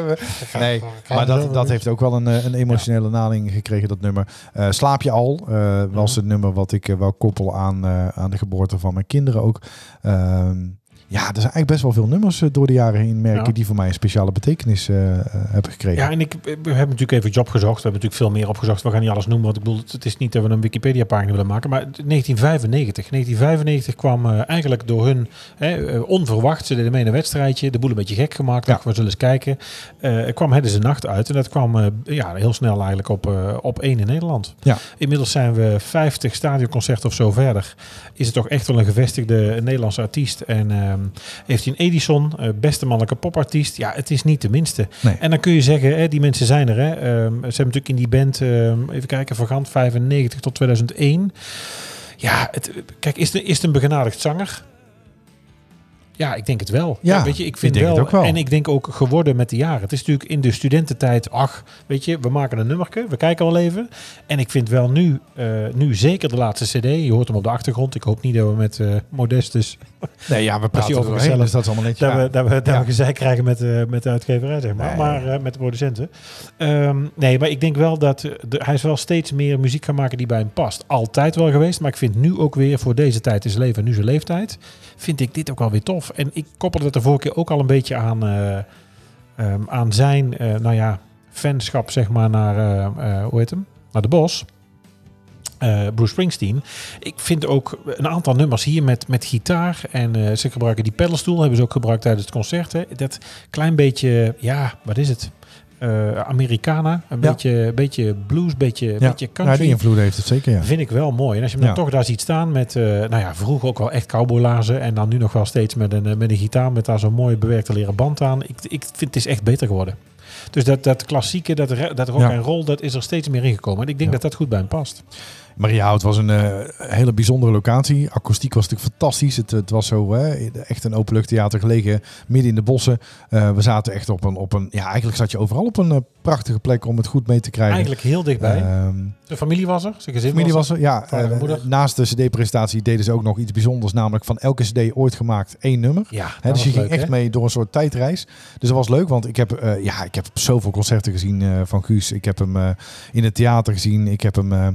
Ah, Nee, maar dat, dat heeft ook wel een, eh, een emotionele lading gekregen, dat nummer. Eh, Slaap je al eh, was Mhm. het nummer wat ik eh, wel koppel aan, eh, aan de geboorte van mijn kinderen ook. Ehm, ja, er zijn eigenlijk best wel veel nummers eh, door de jaren heen merken Ja. die voor mij een speciale betekenis eh, eh, hebben gekregen. Ja, en ik, we hebben natuurlijk even job gezocht. We hebben natuurlijk veel meer opgezocht. We gaan niet alles noemen, want ik bedoel, het is niet dat we een Wikipedia-pagina willen maken. Maar 1995. 1995 kwam eh, eigenlijk door hun hè, eh, onverwacht. Ze deden mee in een wedstrijdje. De boel een beetje gek gemaakt. Dacht, we zullen eens kijken. Eh kwam Het is een Nacht uit. En dat kwam eh, ja, heel snel eigenlijk op, eh, op één in Nederland. Ja. Inmiddels zijn we 50 stadionconcerten of zo verder. Is het toch echt wel een gevestigde Nederlandse artiest. En ehm, heeft hij een Edison, eh, beste mannelijke popartiest. Ja, het is niet de minste. Nee. En dan kun je zeggen, hè, die mensen zijn er. Hè. Ehm, ze hebben natuurlijk in die band, ehm, even kijken, vergant 95 tot 2001. Ja, het, kijk, is het, is het een begenadigd zanger? Ja, ik denk het wel. Ja, weet je, ik vind ik denk wel, het ook wel. En ik denk ook geworden met de jaren. Het is natuurlijk in de studententijd, ach, weet je, we maken een nummerke, we kijken wel even. En ik vind wel nu, eh, nu zeker de laatste CD, je hoort hem op de achtergrond. Ik hoop niet dat we met eh Modestus nee, ja, we praten over doorheen, mezelf. dus dat is allemaal netjes. dat, we, dat, we, dat Ja. we gezeik krijgen met, eh, met de uitgeverij, zeg maar. Nee. Maar eh, met de producenten. Ehm, nee, maar ik denk wel dat eh, de, hij is wel steeds meer muziek gaan maken die bij hem past. Altijd wel geweest, maar ik vind nu ook weer voor deze tijd is leven en nu zijn leeftijd, vind ik dit ook wel weer tof. En ik koppelde dat de vorige keer ook al een beetje aan, eh, ehm, aan zijn, eh, nou ja, fanschap, zeg maar, naar, eh, eh, hoe heet hem? Naar de Bos. Eh, Bruce Springsteen. Ik vind ook een aantal nummers hier met, met gitaar. En eh, ze gebruiken die pedalstoel, hebben ze ook gebruikt tijdens het concert. Hè. Dat klein beetje, ja, wat is het? Eh, Americana. Een Ja. beetje, beetje blues, beetje, Ja, beetje ja, country. die invloed heeft het zeker, ja. Vind ik wel mooi. En als je hem Ja. dan toch daar ziet staan met, eh, nou ja, vroeger ook wel echt cowboylazen. En dan nu nog wel steeds met een, eh, met een gitaar met daar zo'n mooie bewerkte leren band aan. Ik, ik vind het is echt beter geworden. Dus dat, dat klassieke, dat, re- dat rock Ja. en roll, dat is er steeds meer ingekomen. En ik denk Ja. dat dat goed bij hem past. Maria het was een eh, hele bijzondere locatie. Akoestiek was natuurlijk fantastisch. Het, het was zo hè, echt een openluchttheater gelegen midden in de bossen. Eh, we zaten echt op een, op een... Ja, eigenlijk zat je overal op een eh, prachtige plek om het goed mee te krijgen. Eigenlijk heel dichtbij. Ehm, de familie was er, zijn gezin familie was er. was er, ja. Vader en eh, moeder. naast de cd-presentatie deden ze ook nog iets bijzonders. Namelijk van elke cd ooit gemaakt één nummer. Ja, Hè, Nou, dat dus je was ging leuk, echt hè? mee door een soort tijdreis. Dus dat was leuk, want ik heb, eh, ja, ik heb zoveel concerten gezien eh, van Guus. Ik heb hem eh, in het theater gezien. Ik heb hem eh,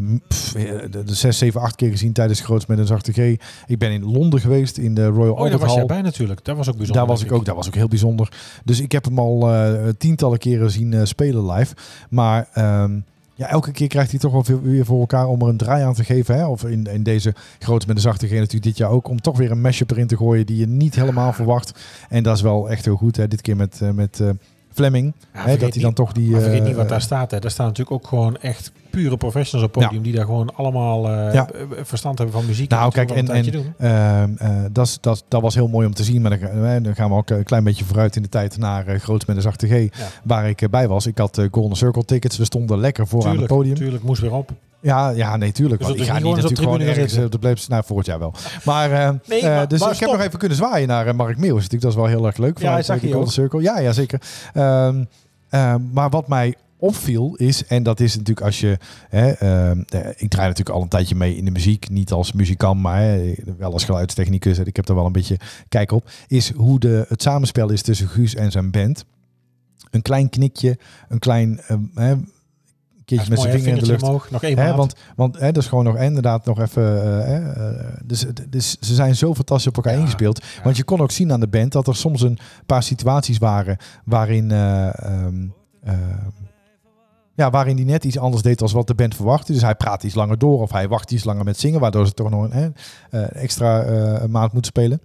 m- pff, eh, de, de zes, zeven, acht keer gezien tijdens Groots met een Zachte G. Ik ben in Londen geweest, in de Royal Oh, daar Albert was Hall. jij bij natuurlijk. Dat was ook bijzonder. Daar was ik denk ook, daar was ook heel bijzonder. Dus ik heb hem al eh, tientallen keren zien eh, spelen live. Maar ehm, ja, elke keer krijgt hij toch wel veel- weer voor elkaar om er een draai aan te geven. Hè? Of in, in deze groots met de zachte G natuurlijk dit jaar ook. Om toch weer een mashup erin te gooien die je niet helemaal verwacht. En dat is wel echt heel goed. Hè? Dit keer met, eh, met eh, Fleming. Ja, hè? vergeet Dat hij dan niet- toch die... Maar vergeet eh, niet wat daar staat. Hè. Daar staan natuurlijk ook gewoon echt pure professionals op het podium. Die daar gewoon allemaal eh, Ja. verstand hebben van muziek. Nou, dat kijk, natuurlijk en, wel een tijdje en ehm, eh, dat, is- dat, dat was heel mooi om te zien. Maar dan, ga- eh, dan gaan we ook een klein beetje vooruit in de tijd naar eh Groots met een Zachte G. Waar ik eh, bij was. Ik had eh, Golden Circle tickets. We stonden lekker voor aan Tuurlijk, het podium. tuurlijk, moest weer op. Ja, ja, nee, tuurlijk. Dus want ik dat ga is niet natuurlijk niet gewoon gewoon eens op tribune gaan ergens zitten? eh, op de bleeps. Nou, volgend jaar wel. Maar, eh, Nee, eh, maar- dus maar ik heb stop. nog even kunnen zwaaien naar eh, Mark Meeuwis. Natuurlijk, dat is wel heel erg leuk. vanuit, hij zag eh, de je Golden ook. Circle. Ja, ja, zeker. Ehm, ehm, maar wat mij opviel is, en dat is natuurlijk als je, hè, ehm, eh, ik draai natuurlijk al een tijdje mee in de muziek, niet als muzikant, maar hè, wel als geluidstechnicus. En ik heb daar wel een beetje kijk op, is hoe de, het samenspel is tussen Guus en zijn band. Een klein knikje, een klein ehm, hè, keertje met zijn vinger in de lucht. Omhoog, nog één Hè, maand. want want hè, dat is gewoon nog inderdaad nog even. eh, hè, eh, dus, het- dus ze zijn zo fantastisch op elkaar Ja, ingespeeld. Want je kon ook zien aan de band dat er soms een paar situaties waren waarin. eh, ehm, ehm, ja, waarin hij net iets anders deed dan wat de band verwachtte. Dus hij praat iets langer door of hij wacht iets langer met zingen, waardoor ze toch nog een hè, eh, extra eh, maand moeten spelen.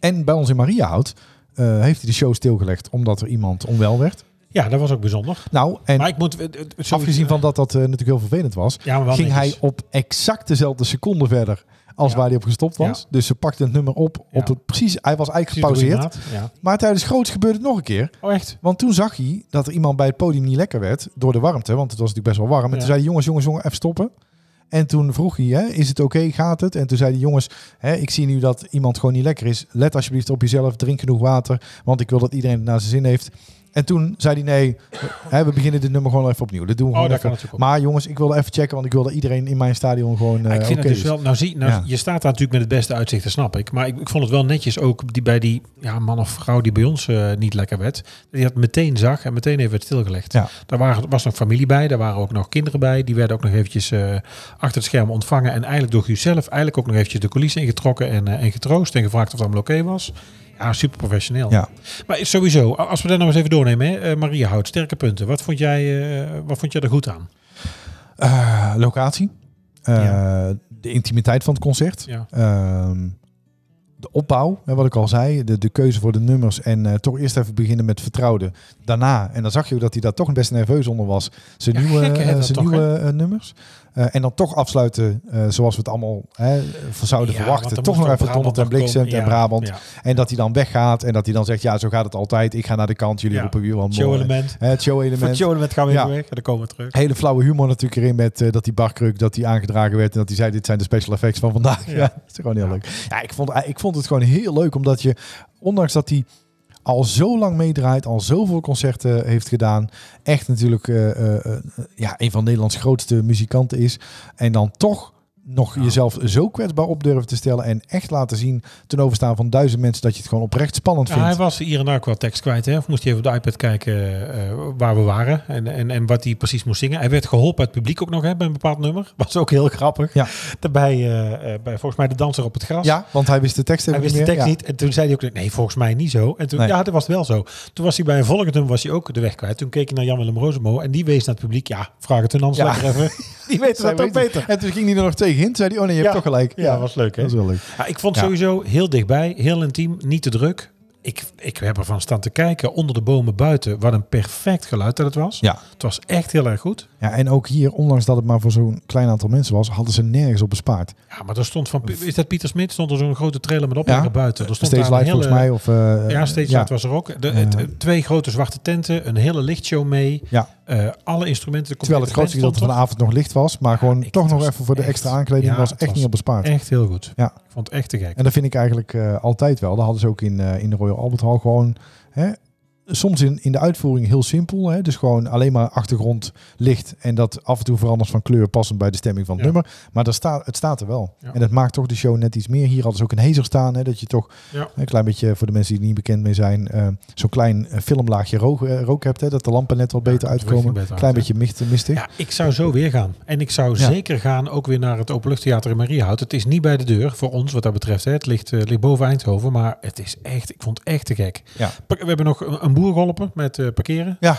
En bij ons in Mariahout eh, heeft hij de show stilgelegd omdat er iemand onwel werd. Ja, dat was ook bijzonder. Nou, en maar ik moet... eh, eh, sorry, afgezien van dat dat eh, natuurlijk heel vervelend was, Ja, maar wel ging netjes. hij op exact dezelfde seconde verder als Ja. waar hij op gestopt was. Ja. Dus ze pakte het nummer op. Ja. op het, precies, hij was eigenlijk Precies door die gepauzeerd. maat, Ja. Maar tijdens groots gebeurde het nog een keer. Oh, echt? Want toen zag hij dat er iemand bij het podium niet lekker werd door de warmte. Want het was natuurlijk best wel warm. En Ja. toen zei hij, jongens, jongens, jongens, even stoppen. En toen vroeg hij, hè, is het oké, gaat het? En toen zei hij, jongens, hè, ik zie nu dat iemand gewoon niet lekker is. Let alsjeblieft op jezelf, drink genoeg water. Want ik wil dat iedereen het naar zijn zin heeft. En toen zei hij nee, hè, we beginnen dit nummer gewoon even opnieuw. Dat doen we gewoon dat even. Oh, kan natuurlijk ook. maar jongens, ik wilde even checken, want ik wilde iedereen in mijn stadion gewoon eh ik vind oké het dus is. wel, nou zie, nou, Ja. je staat daar natuurlijk met het beste uitzicht, dat snap ik. Maar ik, ik vond het wel netjes ook die, bij die ja, man of vrouw die bij ons eh, niet lekker werd. Die dat meteen zag en meteen even werd stilgelegd. Ja. Daar waren, was nog familie bij, daar waren ook nog kinderen bij. Die werden ook nog eventjes eh, achter het scherm ontvangen. En eigenlijk door Guus zelf eigenlijk ook nog eventjes de coulissen ingetrokken en, eh, en getroost. En gevraagd of het allemaal oké was. Ja, super professioneel. Ja. Maar sowieso, a- als we dat nou eens even doornemen. Hè, eh, Maria houdt sterke punten. Wat vond, jij, eh, wat vond jij er goed aan? Eh, locatie. Eh, De intimiteit van het concert. Ja. Ehm, de opbouw, hè, wat ik al zei, de, de keuze voor de nummers en eh, toch eerst even beginnen met vertrouwde. Daarna, en dan zag je ook dat hij daar toch best nerveus onder was, zijn Ja, nieuwe, gekke hè, eh, dat zijn toch, nieuwe eh, nummers. Eh, en dan toch afsluiten eh, zoals we het allemaal hè, van zouden Ja, want verwachten. er Oh, Toch moest nog ook even Donderd en Brabant nog Bliksem en komen. Ja, Brabant. ja. En dat hij dan weggaat en dat hij dan zegt, ja zo gaat het altijd. Ik ga naar de kant, jullie Ja. roepen wie want Show-element. Het show-element. met gaan we even Ja. weg en dan komen we terug. Hele flauwe humor natuurlijk erin met eh, dat die barkruk dat die aangedragen werd en dat hij zei dit zijn de special effects van vandaag. Ja, dat is gewoon heel leuk. Ja, ik vond, eh, ik vond het gewoon heel leuk omdat je, ondanks dat hij al zo lang meedraait, al zoveel concerten heeft gedaan, echt natuurlijk eh, eh, eh, ja, een van Nederlands grootste muzikanten is en dan toch nog jezelf zo kwetsbaar op durven te stellen en echt laten zien ten overstaan van duizend mensen dat je het gewoon oprecht spannend Ja, hij vindt. was hier en daar ook wel tekst kwijt. Hè? Of moest hij even op de iPad kijken eh, eh, waar we waren en, en, en wat hij precies moest zingen. Hij werd geholpen uit het publiek ook nog hè, bij een bepaald nummer. Was ook heel grappig. Ja. Daarbij, eh, eh, bij volgens mij de danser op het gras. Ja, want hij wist de tekst Hij even wist de tekst meer. Ja. niet. En toen zei hij ook, nee, volgens mij niet zo. En toen, Nee. ja, dat was wel zo. Toen was hij bij een volgend nummer was hij ook de weg kwijt. Toen keek hij naar Jan-Willem Rozemo en die wees naar het publiek. Ja, vraag het hun anders Ja. lekker even. Die weten Zij dat ook weet het. beter. En toen ging hij er nog tegenin. Zei hij, oh nee, je hebt toch gelijk. Ja, was leuk hè. Dat is wel leuk. Ja, ik vond Ja. sowieso heel dichtbij, heel intiem, niet te druk. Ik, ik heb ervan staan te kijken, onder de bomen buiten. Wat een perfect geluid dat het was. Ja. Het was echt heel erg goed. ja, en ook hier, ondanks dat het maar voor zo'n klein aantal mensen was, hadden ze nergens op bespaard. Ja, maar er stond van... Is dat Pieter Smit? Stond er zo'n grote trailer met oplegger buiten. Er stond Steeds daar een live volgens hele- mij. Of, eh, Ja, steeds ja. Light was er ook. De, het- het- twee grote zwarte tenten, een hele lichtshow mee. Ja. Eh, alle instrumenten. de Terwijl het grootste complete gedeelte van de band stond avond nog licht was, maar gewoon ik- toch het nog was even voor de echt- extra aankleding ja, was het echt niet was op bespaard. er. Echt heel goed. Ja. Ik vond het echt te gek. En dat vind ik eigenlijk eh, altijd wel. Dat hadden ze ook in, eh, in de Royal Albert Hall gewoon. Hè, soms in, in de uitvoering heel simpel. Hè, dus gewoon alleen maar achtergrond licht. En dat af en toe verandert van kleur passend bij de stemming van het Ja. nummer. Maar daar staat, het staat er wel. Ja. En dat maakt toch de show net iets meer. Hier hadden ze ook een hezer staan. Hè, dat je toch Ja. een klein beetje, voor de mensen die er niet bekend mee zijn, eh, zo'n klein eh, filmlaagje rook, eh, rook hebt. Hè, dat de lampen net wat beter dat de uitkomen. verlichting beter klein uit, beetje mist- mistig. Ja, ik zou zo weer gaan. En ik zou Ja. zeker gaan ook weer naar het Openluchttheater in Mariahout. Het is niet bij de deur voor ons wat dat betreft. Hè. Het ligt, eh, ligt boven Eindhoven, maar het is echt, ik vond het echt te gek. Ja. Pa- We hebben nog een, een boer geholpen met eh, parkeren. Ja.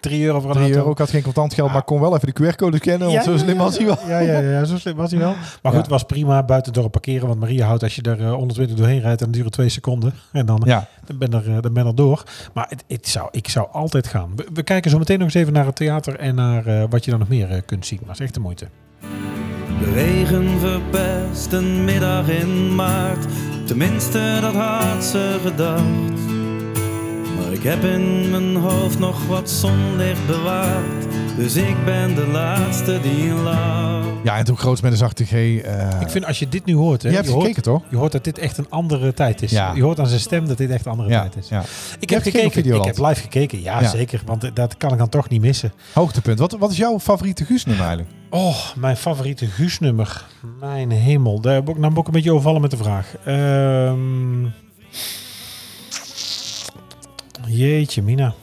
3 euro voor een Die auto. euro, ik had geen contant geld, maar kon wel even de QR-code scannen. Want zo slim was hij wel. Ja, ja, ja, zo slim was hij wel. Maar goed, Ja. het was prima buiten het dorp parkeren. Want Mariahout, als je er eh, 120 doorheen rijdt, dan duurt het twee seconden. En dan, Ja. dan, ben, er, eh, dan ben er door. Maar het, het zou, ik zou altijd gaan. We, we kijken zo meteen nog eens even naar het theater en naar eh, wat je dan nog meer eh, kunt zien. Maar het is echt de moeite. De regen verpest een middag in maart. Tenminste, dat had ze gedacht. Maar ik heb in mijn hoofd nog wat zonlicht bewaard. Dus ik ben de laatste die lacht. Ja, en toen groots met een zachte G. eh, Ik vind als je dit nu hoort, hè, je hebt je, hoort, gekeken, toch? je hoort dat dit echt een andere tijd is. Ja. Je hoort aan zijn stem dat dit echt een andere Ja, tijd is. ja. hebt Ik heb gekeken op gekeken, ik Videoland? heb live gekeken, ja, Ja. zeker. Want eh, dat kan ik dan toch niet missen. Hoogtepunt. Wat, wat is jouw favoriete Guus-nummer eigenlijk? Oh, mijn favoriete Guus-nummer. Mijn hemel. Daar ben ik nou ben ik ook een beetje overvallen met de vraag. Ehm, jeetje, Mina.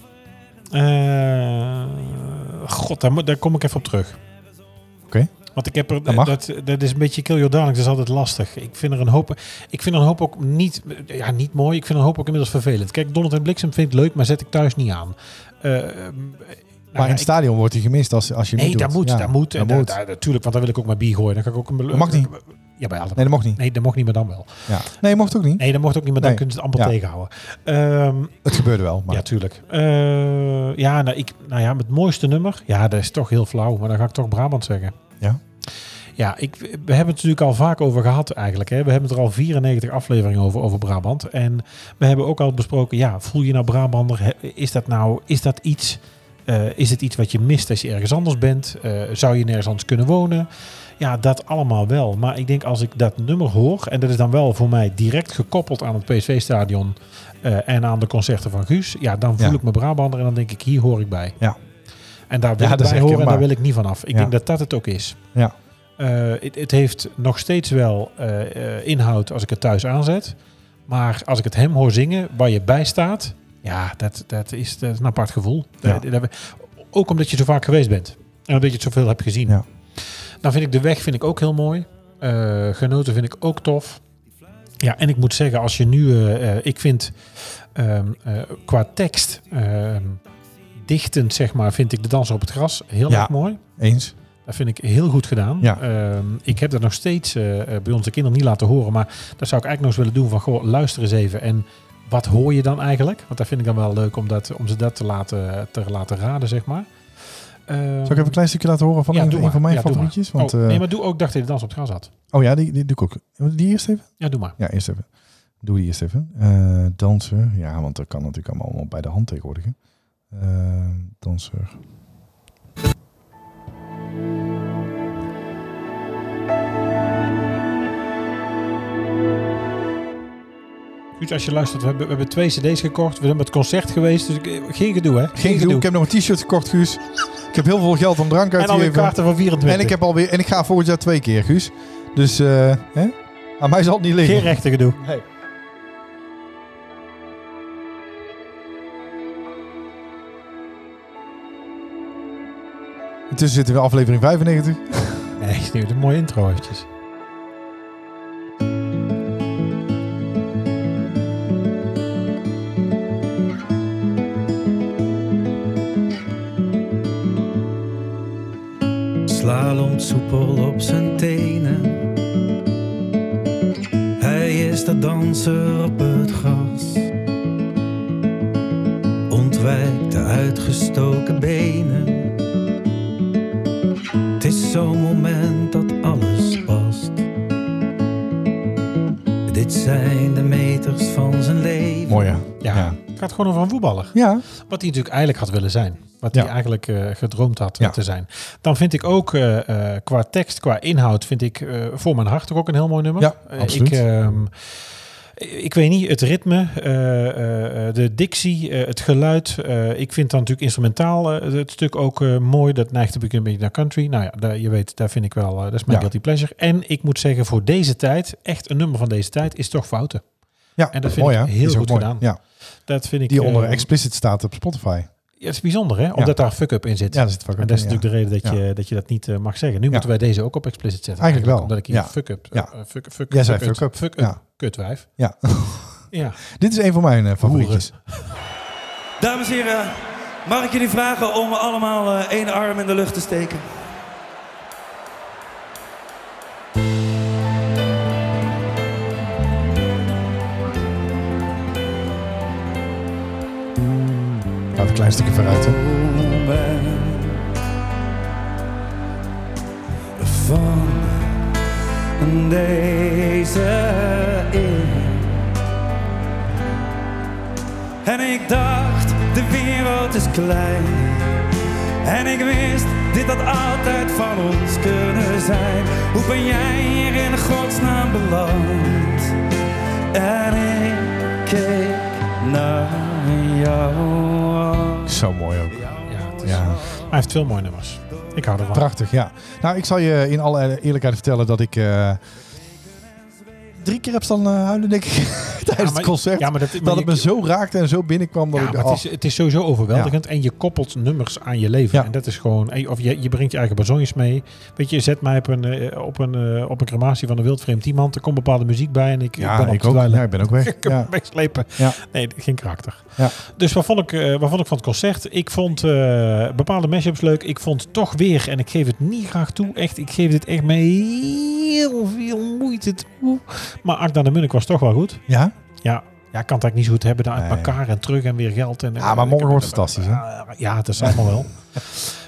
Eh, God, daar, moet- daar kom ik even op terug. Oké. Want ik heb er, Dat dat, mag. dat, is een beetje kill your darlings, dat is altijd lastig. Ik vind er een hoop, ik vind er een hoop ook niet, ja, niet mooi. Ik vind er een hoop ook inmiddels vervelend. Kijk, Donald en Bliksem vind ik leuk, maar zet ik thuis niet aan. Eh, ehm, maar nou in ja, het stadion wordt hij gemist als, als je hem Nee, niet dat doet. moet, Ja, dat moet. En Dat daar- moet. daar- Natuurlijk, want dan wil ik ook mijn bier gooien. Dan ga ik ook een Dat mag niet. Ja, bij alle. Nee, dat mocht niet. Nee, dat mocht niet meer dan wel. Ja. Nee, mocht ook niet. Nee, dat mocht ook niet meer. Dan Nee. kunnen ze het Ja. amper tegenhouden. Ehm, Het gebeurde wel. Maar. ja, tuurlijk. Eh, ja, nou, ik, nou ja, het mooiste nummer. Ja, dat is toch heel flauw. Maar dan ga ik toch Brabant zeggen. Ja. Ja, ik, we hebben het natuurlijk al vaak over gehad eigenlijk. Hè. We hebben het er al 94 afleveringen over, over Brabant. En we hebben ook al besproken, ja, voel je nou Brabander? He- Is dat nou, is dat iets... eh, is het iets wat je mist als je ergens anders bent? Eh, zou je nergens anders kunnen wonen? Ja, dat allemaal wel. Maar ik denk als ik dat nummer hoor, en dat is dan wel voor mij direct gekoppeld aan het PSV-stadion eh, en aan de concerten van Guus, ja, dan voel Ja. ik me Brabander en dan denk ik, hier hoor ik bij. Ja. En daar wil Ja, ik dat is bij echt horen en daar kenbaar. wil ik niet van af. Ik Ja. denk dat dat het ook is. Ja. Eh, het, het heeft nog steeds wel eh, eh, inhoud als ik het thuis aanzet. Maar als ik het hem hoor zingen, waar je bij staat, ja, dat, dat, is, dat is een apart gevoel. Ja. Dat- dat- ook omdat je zo vaak geweest bent. En omdat je het zoveel hebt gezien. Ja. Dan vind ik de weg vind ik ook heel mooi. Eh, genoten vind ik ook tof. Ja, en ik moet zeggen, als je nu... eh, eh, ik vind ehm, eh, qua tekst... ehm, dichtend, zeg maar, vind ik de dansen op het gras heel Ja. erg mooi. Eens? Dat vind ik heel goed gedaan. Ja. Ehm, ik heb dat nog steeds eh, eh, bij onze kinderen niet laten horen. Maar dat zou ik eigenlijk nog eens willen doen. Van, goh, luister eens even. En wat hoor je dan eigenlijk? Want dat vind ik dan wel leuk om, dat, om ze dat te laten, te laten raden, zeg maar. Ehm, Zal ik even een klein stukje laten horen van ja, een, doe een maar. van mijn Ja, doe favorietjes? maar. Want, oh, eh, nee, maar doe ook Dacht ik de dans op het gras had. oh ja, die, die doe ik ook. Die eerst even? Ja, doe maar. Ja, eerst even. Doe die eerst even. Eh, danser. Ja, want dat kan natuurlijk allemaal, allemaal bij de hand tegenwoordig. hè. Eh, danser. Goed, als je luistert, we hebben, we hebben twee cd's gekocht. We zijn met het concert geweest. Dus ik- geen gedoe, hè? Geen gedoe. Ik heb nog een t-shirt gekocht, Guus. Ik heb heel veel geld om drank uit En te alweer geven. kaarten van 24. En ik, heb alweer, en ik ga volgend jaar twee keer, Guus. Dus eh, hè? aan mij zal het niet liggen. geen rechte gedoe. Intussen zitten we in aflevering 95. Nee, het is een mooie intro eventjes. slaloomt soepel op zijn tenen. Hij is de danser op het gras. Ontwijkt de uitgestoken benen. Het is zo'n moment dat alles past. Dit zijn de meters van zijn leven. Mooi, ja. Ja. Ja. Het gaat gewoon over een voetballer. Ja. Wat hij natuurlijk eigenlijk had willen zijn. Wat Ja. hij eigenlijk eh, gedroomd had Ja. te zijn. Dan vind ik ook eh, eh, qua tekst, qua inhoud, vind ik eh, voor mijn hart toch ook een heel mooi nummer. Ja, Eh, absoluut. Ik, ehm, ik weet niet, het ritme, eh, eh, eh, de dictie, eh, het geluid. eh, ik vind dan natuurlijk instrumentaal eh, het stuk ook eh, mooi. Dat neigt natuurlijk een beetje naar country. Nou ja, daar, je weet, daar vind ik wel, eh, dat is mijn Ja. guilty pleasure. En ik moet zeggen, voor deze tijd, echt een nummer van deze tijd, is toch fouten. ja. En dat vind ik hè? heel Is ook goed mooi. gedaan. Ja. Dat vind ik... Die onder eh, explicit staat op Spotify. ja, het is bijzonder, hè? Omdat daar fuck-up in zit. Ja, dat zit vaak en ook dat is in, ja. natuurlijk de reden dat je, dat, je dat niet eh, mag zeggen. Nu moeten wij deze ook op explicit zetten. Eigenlijk wel, Omdat ik hier ja. fuck-up... Ja. eh, fuck, fuck, Jij zei fuck-up, fuck-up, fuck-up, ja. kutwijf. Ja. Ja. Dit is een van mijn eh, favorietjes. Dames en heren, mag ik jullie vragen om allemaal eh, één arm in de lucht te steken? Laat een klein stukje vooruit. Hè. van deze eeuw. En ik dacht, de wereld is klein. En ik wist, dit had altijd van ons kunnen zijn. Hoe ben jij hier in godsnaam beland? En ik keek naar jou. Zo mooi ook. ja, het is- Ja. Hij heeft veel mooie nummers. Ik hou ervan. Prachtig, ja. Nou, ik zal je in alle eerlijkheid vertellen dat ik eh, drie keer heb staan eh, huilen, denk ik, tijdens maar- het concert. ja, maar dat- maar dat het je- me zo raakte en zo binnenkwam. Dat Ja, ik, oh, maar het, is, het is sowieso overweldigend. En je koppelt nummers aan je leven. Ja. En dat is gewoon... eh, Of je, je brengt je eigen bezonjes mee. Weet je, je zet mij op een, eh, op een, eh, op een crematie van een wildvreemd iemand. Er komt bepaalde muziek bij en ik, ja, ben op ik te ook. dweilen. Ja, ik ben ook weg. Ik heb Ja. hem wegslepen. Ja. Nee, geen karakter. Ja. Dus wat vond, ik, eh, wat vond ik van het concert? Ik vond eh, bepaalde mashups leuk. Ik vond toch weer, en ik geef het niet graag toe, echt, ik geef dit echt met heel veel moeite toe. Maar Akda de Munnik was toch wel goed. ja? Ja, ja kan het eigenlijk niet zo goed hebben daar uit Nee. elkaar en terug en weer geld. En, Ja, maar morgen wordt het fantastisch, hè? Ja, dat is allemaal wel.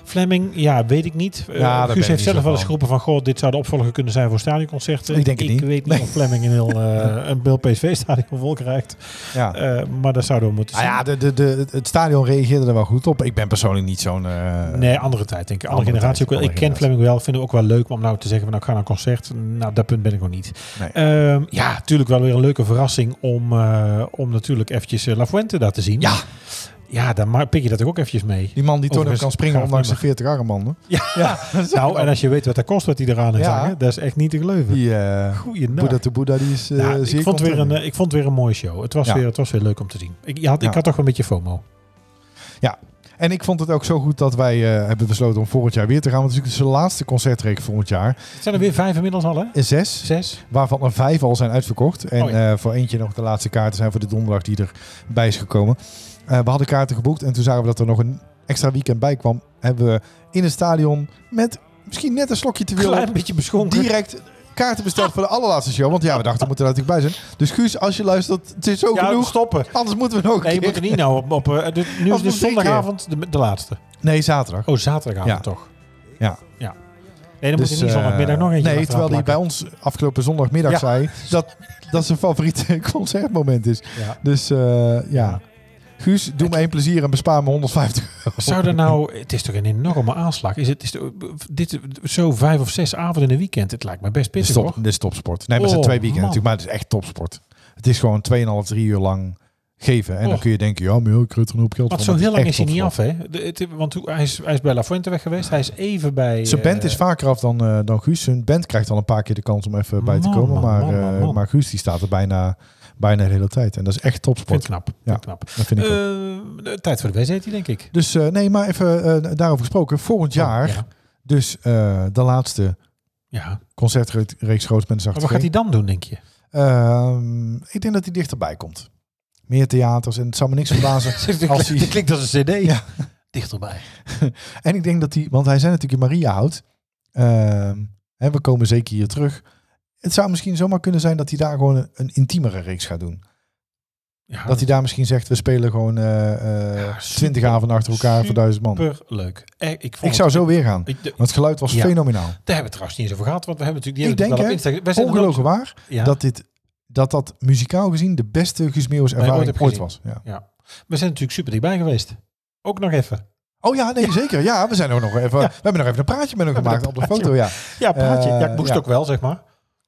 Fleming, ja, weet ik niet. Eh, Ja, daar ben Guus ik heeft niet zelf zo wel eens van. geroepen van... Goh, dit zou de opvolger kunnen zijn voor stadionconcerten. Ik denk het niet. weet niet of Fleming een heel, eh, een heel PSV-stadion vol krijgt. Ja. Eh, maar dat zouden we moeten Ah zien. ja, de, de, de, het stadion reageerde er wel goed op. Ik ben persoonlijk niet zo'n... eh, Nee, andere tijd denk ik. Andere, Andere generatie tijd, ook wel. Ik andere ken generatie. Fleming wel. Vind het ook wel leuk om nou te zeggen van nou, ik ga naar een concert. Nou, dat punt ben ik nog niet. Nee. Ehm, ja, natuurlijk wel weer een leuke verrassing om, eh, om natuurlijk eventjes eh, La Fuente daar te zien. Ja, Ja, dan ma- pik je dat er ook eventjes mee. die man die toch nog Overigens, kan springen gaaf ondanks de nummer. 40 arm man. Ja. nou, en als je weet wat dat kost wat hij eraan heeft Ja. hangen, dat is echt niet te geloven. Die eh Goeiedag. Boeddha to Boeddha, die is eh, Nou, zeer ik, vond weer een, content. eh, ik vond weer een mooie show. Het was, Ja. weer, het was weer leuk om te zien. Ik, je had, Ja. ik had toch een beetje FOMO. En ik vond het ook zo goed dat wij eh, hebben besloten om volgend jaar weer te gaan. Want het is natuurlijk zijn laatste concertreek volgend jaar. Het zijn er weer vijf inmiddels al, hè? Eh, Zes, Zes. waarvan er vijf al zijn uitverkocht. En Oh ja. eh, voor eentje nog de laatste kaarten zijn voor de donderdag die erbij is gekomen. Eh, we hadden kaarten geboekt en toen zagen we dat er nog een extra weekend bij kwam. Hebben we in het stadion met misschien net een slokje te veel op, Klein beetje beschonken. direct kaarten besteld voor de allerlaatste show. Want ja, we dachten, we moeten er natuurlijk bij zijn. Dus Guus, als je luistert, het is zo ja, genoeg. stoppen. Anders moeten we nog een Nee, je keer. moet er niet nou op. op eh, dit- nu Of is moet dus ik zondagavond de, de laatste. Nee, zaterdag. Oh, zaterdagavond Ja. toch? Ja. ja. Nee, dan moet Dus, je niet eh, zondagmiddag nog eentje Nee, terwijl hij bij achteraan ons afgelopen zondagmiddag Ja. zei dat dat zijn favoriete concertmoment is. plakken. Ja. Dus eh, ja. Guus, doe me één plezier en bespaar me 150 euro. Zou er nou... Het is toch een enorme aanslag? Is het is de- dit, zo vijf of zes avonden in een weekend? Het lijkt me Dit best pittig, is, hoor. top, dit is topsport. Nee, maar het zijn Oh, twee weekenden man. natuurlijk, maar het is echt topsport. Het is gewoon 2,5, 3 uur lang geven. En dan Och. kun je denken, ja, maar joh, ik kreeg er een hoop geld Want van. zo maar heel het lang is echt hij niet af, topsport. hè? De- het- want hoe- hij is, hij is bij La Fuente weg geweest. Hij is even bij... Zijn band is eh, vaker af dan, eh, dan Guus. Zijn band krijgt al een paar keer de kans om even bij te Man, komen. man, Maar, man, man, eh, man. maar Guus die staat er bijna, bijna de hele tijd. En dat is echt Vind topsport. ik knap. Ja. Vind ik knap. Dat vind ik ook. Eh, de tijd voor de wedstrijd, denk ik. Dus eh, nee, maar even eh, daarover gesproken. Volgend jaar, Oh, Ja. dus eh, de laatste ja. concertreeks Grootmens Maar Oh, wat gaat hij dan doen, denk je? Ehm, Ik denk dat hij dichterbij komt. Meer theaters en het zou me niks verbazen als hij... klinkt als een cd. Ja. Dichterbij. En ik denk dat hij, want hij zei natuurlijk in Maria houdt. Ehm, hè, we komen zeker hier terug. Het zou misschien zomaar kunnen zijn dat hij daar gewoon een, een intiemere reeks gaat doen. Ah, Ja, Dat hij daar misschien zegt, we spelen gewoon eh, Ja, super- twintig avonden achter elkaar voor super duizend man. super leuk. Eh, Ik, vond Ik zou het- zo weer gaan. Ik- de- Want het geluid was Ja. fenomenaal. daar hebben we het trouwens niet eens over gehad, want we hebben natuurlijk Ik die hebben denk, het wel op Instagram. Wij zijn er Ongelogen waar. nooit- ja, dat dit dat dat muzikaal gezien de beste Guus Meeuwis je ooit ervaring hebt ooit, gezien. was. Ja. We zijn natuurlijk super dichtbij geweest. Ook nog even. Oh ja, nee, zeker. Ja, we zijn ook nog even. We hebben nog even een praatje met hem gemaakt op de foto. Ja. Ja, praatje. Eh, ja, ik moest ja. ook wel, zeg maar.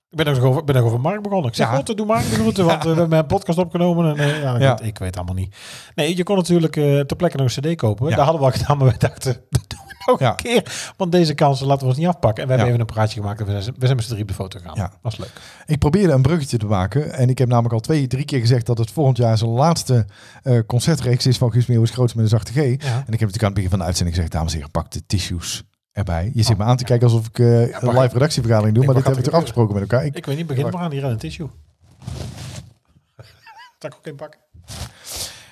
Ik ben nog over, ik ben nog over Mark begonnen. Ik zeg, Ja. ja. doe Mark de groeten, want eh, we hebben een podcast opgenomen. En, eh, ja, Ja. goed, Ik weet allemaal niet. Nee, je kon natuurlijk eh ter plekke nog een cd kopen. Ja. Daar hadden we al gedaan, maar we dachten, dat doen we nog Ja. een keer. Want deze kansen laten we ons niet afpakken. En we Ja. hebben even een praatje gemaakt. En we zijn, we zijn met z'n drie op de foto gegaan. Ja. was leuk. Ik probeerde een bruggetje te maken. En ik heb namelijk al twee, drie keer gezegd dat het volgend jaar zijn laatste eh, concertreeks is van Guus Meeuwis Groots met een zachte G. En ik heb Ja. natuurlijk aan het begin van de uitzending gezegd, dames en heren, pak de tissues erbij. Je zit me aan te kijken alsof ik eh, een live redactievergadering doe, Ik maar dit hebben we denk, wat toch gaat er afgesproken met elkaar. Ik, Ik weet niet, begin maar aan hier aan een tissue. Dat ik ook in pakken.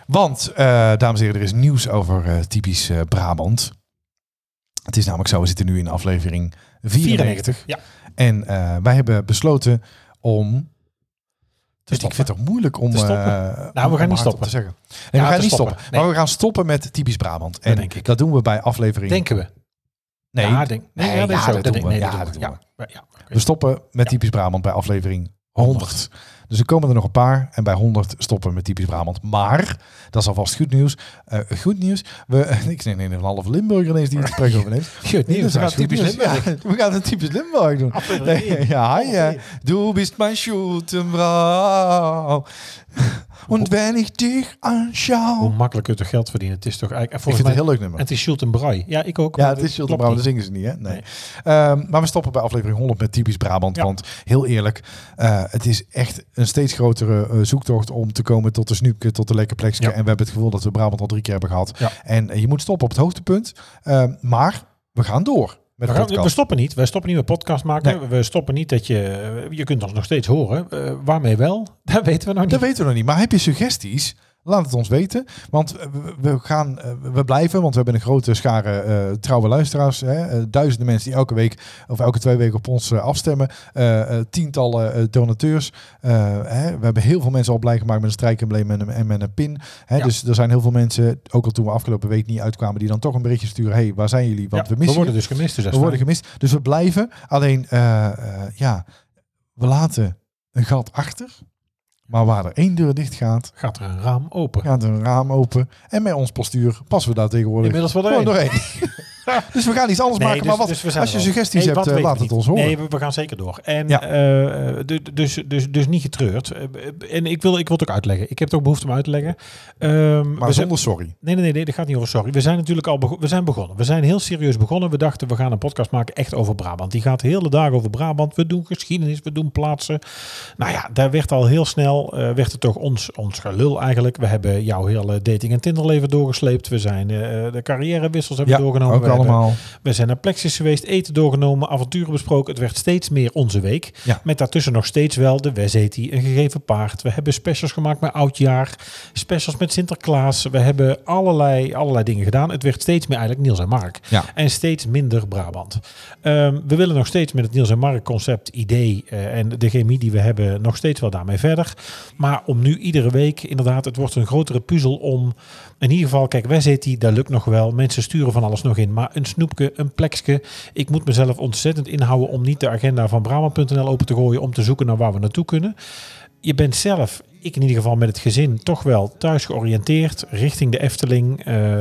want, eh, dames en heren, er is nieuws over eh, typisch eh, Brabant. Het is namelijk zo, we zitten nu in aflevering 94. Ja. En eh, wij hebben besloten om. Dus ik stoppen. vind het ook moeilijk om. Te eh, stoppen. Nou, om- om we gaan niet hardop stoppen. Te zeggen. Nee, Ja, we gaan te niet stoppen. stoppen. Maar Nee. we gaan stoppen met typisch Brabant. En denk ik. dat doen we bij aflevering. Denken we. nee, ja, denk, nee, ja, dat is zo. dat doen denk- we. nee, Ja, dat dat doen doen we. Ja. Ja, oké. We stoppen met typisch Brabant bij aflevering 100. Dus er komen er nog een paar. En bij 100 stoppen we met typisch Brabant. Maar, dat is alvast goed nieuws. Eh, goed nieuws. We, ik neem een half Limburger ineens die het gesprek overneemt. Goed nieuws, we gaan dat is typisch goed nieuws. Limburg. Ja, we gaan het typisch Limburg doen. Aflevering Nee, ja, ja. Du bist mein Schutenbrau. Und wenn ich dich Hoe anschaue. makkelijk kun je toch geld verdienen? Het is toch eigenlijk... Ik Volgens vind het een mij, heel leuk En nummer. het is Schult en Braai. Ja, ik ook. Ja, maar het dat is Schulte klopt Brouw, dat niet. zingen ze niet, hè? Nee. Ehm, maar we stoppen bij aflevering 100 met typisch Brabant. Ja. Want heel eerlijk, eh, het is echt een steeds grotere eh, zoektocht om te komen tot de snoepje, tot de lekker plekje. Ja. En we hebben het gevoel dat we Brabant al drie keer hebben gehad. Ja. En eh, je moet stoppen op het hoogtepunt. Ehm, maar we gaan door met We, de gaan- we podcast. stoppen niet. We stoppen niet met podcast maken. We stoppen niet dat je... Je kunt ons nog steeds horen. Eh, waarmee wel? Dat weten we nog niet. Dat weten we nog niet. Maar heb je suggesties? Laat het ons weten, want eh, we- we, gaan, eh, we blijven, want we hebben een grote schare eh, trouwe luisteraars. Hè, eh, duizenden mensen die elke week of elke twee weken op ons eh, afstemmen. Eh, eh, tientallen eh, donateurs. Eh, hè, we hebben heel veel mensen al blij gemaakt met een strijkembleem en, een- en met een pin. Hè, Ja. Dus er zijn heel veel mensen, ook al toen we afgelopen week niet uitkwamen, die dan toch een berichtje sturen. hey, waar zijn jullie? Want Ja, we missen worden je. dus gemist. Dus dat We is worden fijn. gemist. Dus we blijven. Alleen, eh, eh, ja, we laten een gat achter. Maar waar er één deur dicht gaat, Gaat er een raam open? gaat er een raam open. En met ons postuur passen we daar tegenwoordig Inmiddels wel gewoon doorheen. doorheen. dus we gaan iets anders Nee, maken. dus- maar wat, dus we zijn als je er al. suggesties Nee, hebt, wat eh, weten laat we het niet. ons horen. Nee, we, we gaan zeker door. En Ja. eh, du- dus, dus, dus niet getreurd. Eh, En ik wil, ik wil het ook uitleggen. Ik heb het ook behoefte om uit te leggen. Ehm, we maar zijn- zonder sorry. Nee, nee, nee, nee, dat gaat niet over. Sorry. We zijn natuurlijk al bego- we zijn begonnen. We zijn heel serieus begonnen. We dachten, we gaan een podcast maken echt over Brabant. Die gaat de hele dag over Brabant. We doen geschiedenis, we doen plaatsen. Nou ja, daar werd al heel snel, eh, werd het toch ons, ons gelul eigenlijk. We hebben jouw hele dating- en Tinderleven doorgesleept. We zijn eh, de carrièrewissels hebben Ja, doorgenomen. ook We hebben- allemaal. we zijn naar plexus geweest, eten doorgenomen, avonturen besproken. Het werd steeds meer onze week. Ja. Met daartussen nog steeds wel de Wezeti, een gegeven paard. We hebben specials gemaakt met Oudjaar. Specials met Sinterklaas. We hebben allerlei, allerlei dingen gedaan. Het werd steeds meer eigenlijk Niels en Mark. Ja. En steeds minder Brabant. Ehm, we willen nog steeds met het Niels en Mark concept, idee eh, en de chemie die we hebben, nog steeds wel daarmee verder. Maar om nu iedere week, inderdaad, het wordt een grotere puzzel om. In ieder geval, kijk, wij zitten die, dat lukt nog wel. Mensen sturen van alles nog in. Maar een snoepje, een plekske. Ik moet mezelf ontzettend inhouden om niet de agenda van Brabant.nl open te gooien. Om te zoeken naar waar we naartoe kunnen. Je bent zelf, ik in ieder geval met het gezin, toch wel thuis georiënteerd. Richting de Efteling. eh,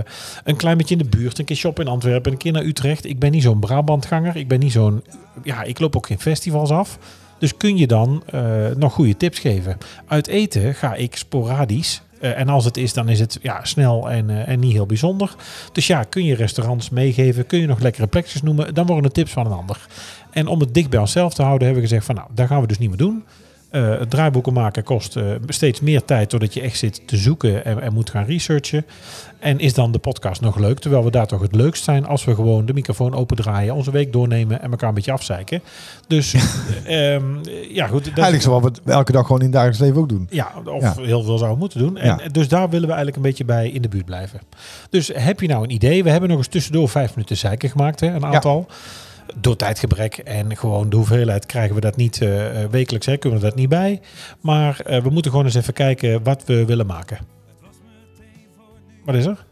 een klein beetje in de buurt. Een keer shoppen in Antwerpen. Een keer naar Utrecht. Ik ben niet zo'n Brabantganger. Ik ben niet zo'n. Ja, ik loop ook geen festivals af. Dus kun je dan eh, nog goede tips geven? Uit eten ga ik sporadisch. Eh, en als het is, dan is het ja, snel en, eh, en niet heel bijzonder. Dus ja, kun je restaurants meegeven? Kun je nog lekkere plekjes noemen? Dan worden het tips van een ander. En om het dicht bij onszelf te houden, hebben we gezegd van nou, dat gaan we dus niet meer doen. Eh, het draaiboeken maken kost eh, steeds meer tijd doordat je echt zit te zoeken en, en moet gaan researchen. En is dan de podcast nog leuk? Terwijl we daar toch het leukst zijn als we gewoon de microfoon opendraaien, onze week doornemen en elkaar een beetje afzeiken. Dus eh, ehm, ja, goed. dat- Eigenlijk zoals we het elke dag gewoon in het dagelijks leven ook doen. ja, of Ja. heel veel zouden moeten doen. En Ja. Dus daar willen we eigenlijk een beetje bij in de buurt blijven. Dus heb je nou een idee? We hebben nog eens tussendoor vijf minuten zeiken gemaakt, hè, een aantal. Door tijdgebrek en gewoon de hoeveelheid krijgen we dat niet eh, eh, wekelijks, hè, kunnen we dat niet bij. Maar eh, we moeten gewoon eens even kijken wat we willen maken. Wat is er?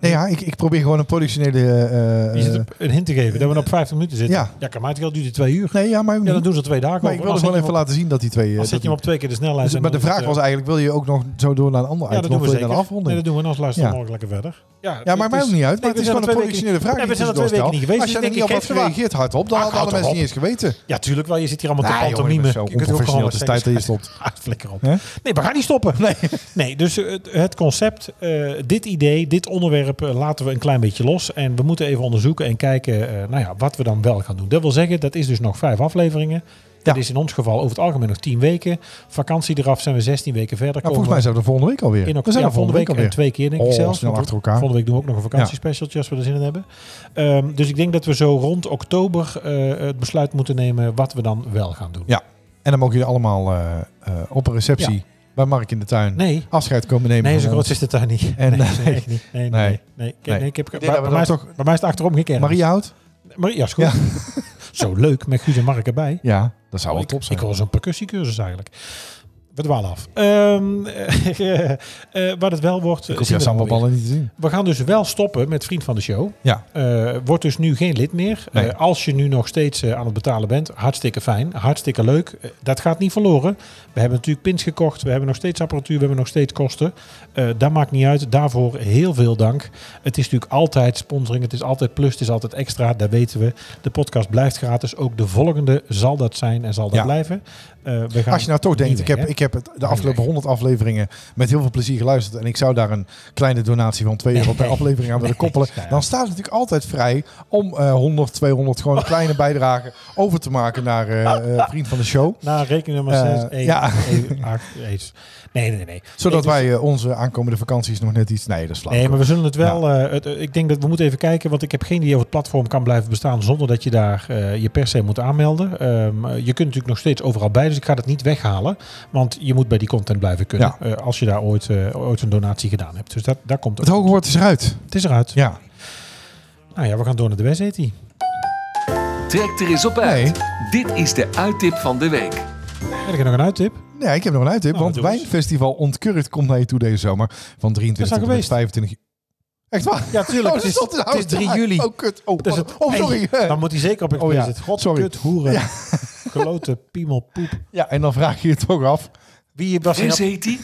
Nee, ja, ik, ik probeer gewoon een productionele... eh, Je zit op een hint te geven dat we op 50 minuten zitten. ja. ja kan maar het geld duurt het twee uur. nee, ja, maar, ook Ja, dan niet. doen ze er twee dagen maar over. ik wilde Dan gewoon zet je hem even op- laten zien dat die twee... eh, Dan zet dat je hem die- op twee keer de snelheid. Dus- en maar de dan is vraag het, was eh, eigenlijk, wil je ook nog zo door naar een ander Ja, dat item doen of we wil je zeker. naar de afronding? Nee, dat doen we en als luisteren Ja. mogelijk lekker verder. Ja, Ja, maar maakt ook niet uit. Maar Nee, het we is zijn gewoon een er twee weken productionele vraag. niet- die Nee, we zijn er ik twee tussendoor weken niet geweest. stel. Als je er dus ik niet op denk, ik had geef ze gereageerd, hardop, dan Ah, hadden alle houd mensen op. niet eens geweten. Ja, tuurlijk wel. Je zit hier allemaal te joh, je pantomime. bent zo Je kunt ook onprofessioneel gewoon te tijd dat je stopt. Ah, flikker op. Hè? Nee, we gaan niet stoppen. Nee, nee dus eh, het- het concept, eh, dit idee, dit onderwerp eh, laten we een klein beetje los. En we moeten even onderzoeken en kijken eh, nou ja, wat we dan wel gaan doen. Dat wil zeggen, dat is dus nog vijf afleveringen. Dat is in ons geval over het algemeen nog tien weken. Vakantie eraf zijn we 16 weken verder. Nou, Komen we- volgens mij zijn we er volgende week alweer. In oktober, we zijn ja, er volgende week en alweer. twee keer denk ik Oh, zelfs. snel Want achter elkaar. Volgende week doen we ook nog een vakantiespecialtje als we er zin in hebben. Ehm, dus ik denk dat we zo rond oktober eh, het besluit moeten nemen wat we dan wel gaan doen. Ja. En dan mogen jullie allemaal eh, eh, op een receptie Ja. bij Mark in de tuin Nee, afscheid komen nemen. nee, zo van groot ons. is de tuin niet. En, nee, zo nee. echt niet. Nee, nee, nee. Nee. nee. Ik- Nee. nee, ik heb, bij, denk dat we bij mij is dan toch, bij mij is het achterom gekend. Maria Hout? Maria is goed. Ja. zo leuk, met Guus en Mark erbij. Ja, dat zou wel ik, top zijn. Ik wil zo'n percussiecursus eigenlijk. We dwalen af. Ehm eh, wat het wel wordt... Ik hoef zien jouw we dan wel weer. sambalballen niet te zien. We gaan dus wel stoppen met Vriend van de Show. Ja. Eh, wordt dus nu geen lid meer. Nee. Eh, als je nu nog steeds eh, aan het betalen bent, hartstikke fijn, hartstikke leuk. Eh, dat gaat niet verloren. We hebben natuurlijk pins gekocht, we hebben nog steeds apparatuur, we hebben nog steeds kosten. Eh, dat maakt niet uit. Daarvoor heel veel dank. Het is natuurlijk altijd sponsoring, het is altijd plus, het is altijd extra, dat weten we. De podcast blijft gratis. Ook de volgende zal dat zijn en zal dat Ja. blijven. Eh, we gaan Als je nou toch denkt, niet ik weg, heb, hè? ik heb het de afgelopen 100 afleveringen met heel veel plezier geluisterd. En ik zou daar een kleine donatie van 2 euro per aflevering aan willen koppelen. Nou ja. Dan staat het natuurlijk altijd vrij om eh 100, 200 gewoon een kleine bijdrage over te maken naar eh, eh, vriend van de show. Nou, rekeningnummer Eh, 6, 1, ja. 8, 1. Nee, nee, nee. Zodat Nee, dus- wij eh, onze aankomende vakanties nog net iets... Nee, dat slaat Nee, maar we zullen het wel. eh, het- eh, ik denk dat we moeten even kijken, want ik heb geen idee of het platform kan blijven bestaan zonder dat je daar eh, je per se moet aanmelden. Ehm, eh, je kunt natuurlijk nog steeds overal bij, dus ik ga dat niet weghalen. Want Want je moet bij die content blijven kunnen. Ja. eh, als je daar ooit, eh, ooit een donatie gedaan hebt. Dus dat, daar komt Het hoge woord is eruit. Het is eruit. Ja. Nou ja, we gaan door naar de wedstrijd. Trek er eens op uit. Dit is de uittip van de week. Heb je nog een uittip? Nee, ik heb nog een uittip. Nou, want doe eens. Wijnfestival Ontkurkt komt naar je toe deze zomer. Van 23 Dat tot is al en met 25... Echt waar? Ja, tuurlijk. Oh, Het is- dat het is 3 juli. Oh, kut. Oh, Dus wat- oh sorry. Dan moet hij zeker op Oh expres ja, zitten. God, sorry. kut, hoeren. Kloten, piemel, poep. Ja, en dan vraag je je toch af. Wie was En hij? heet die?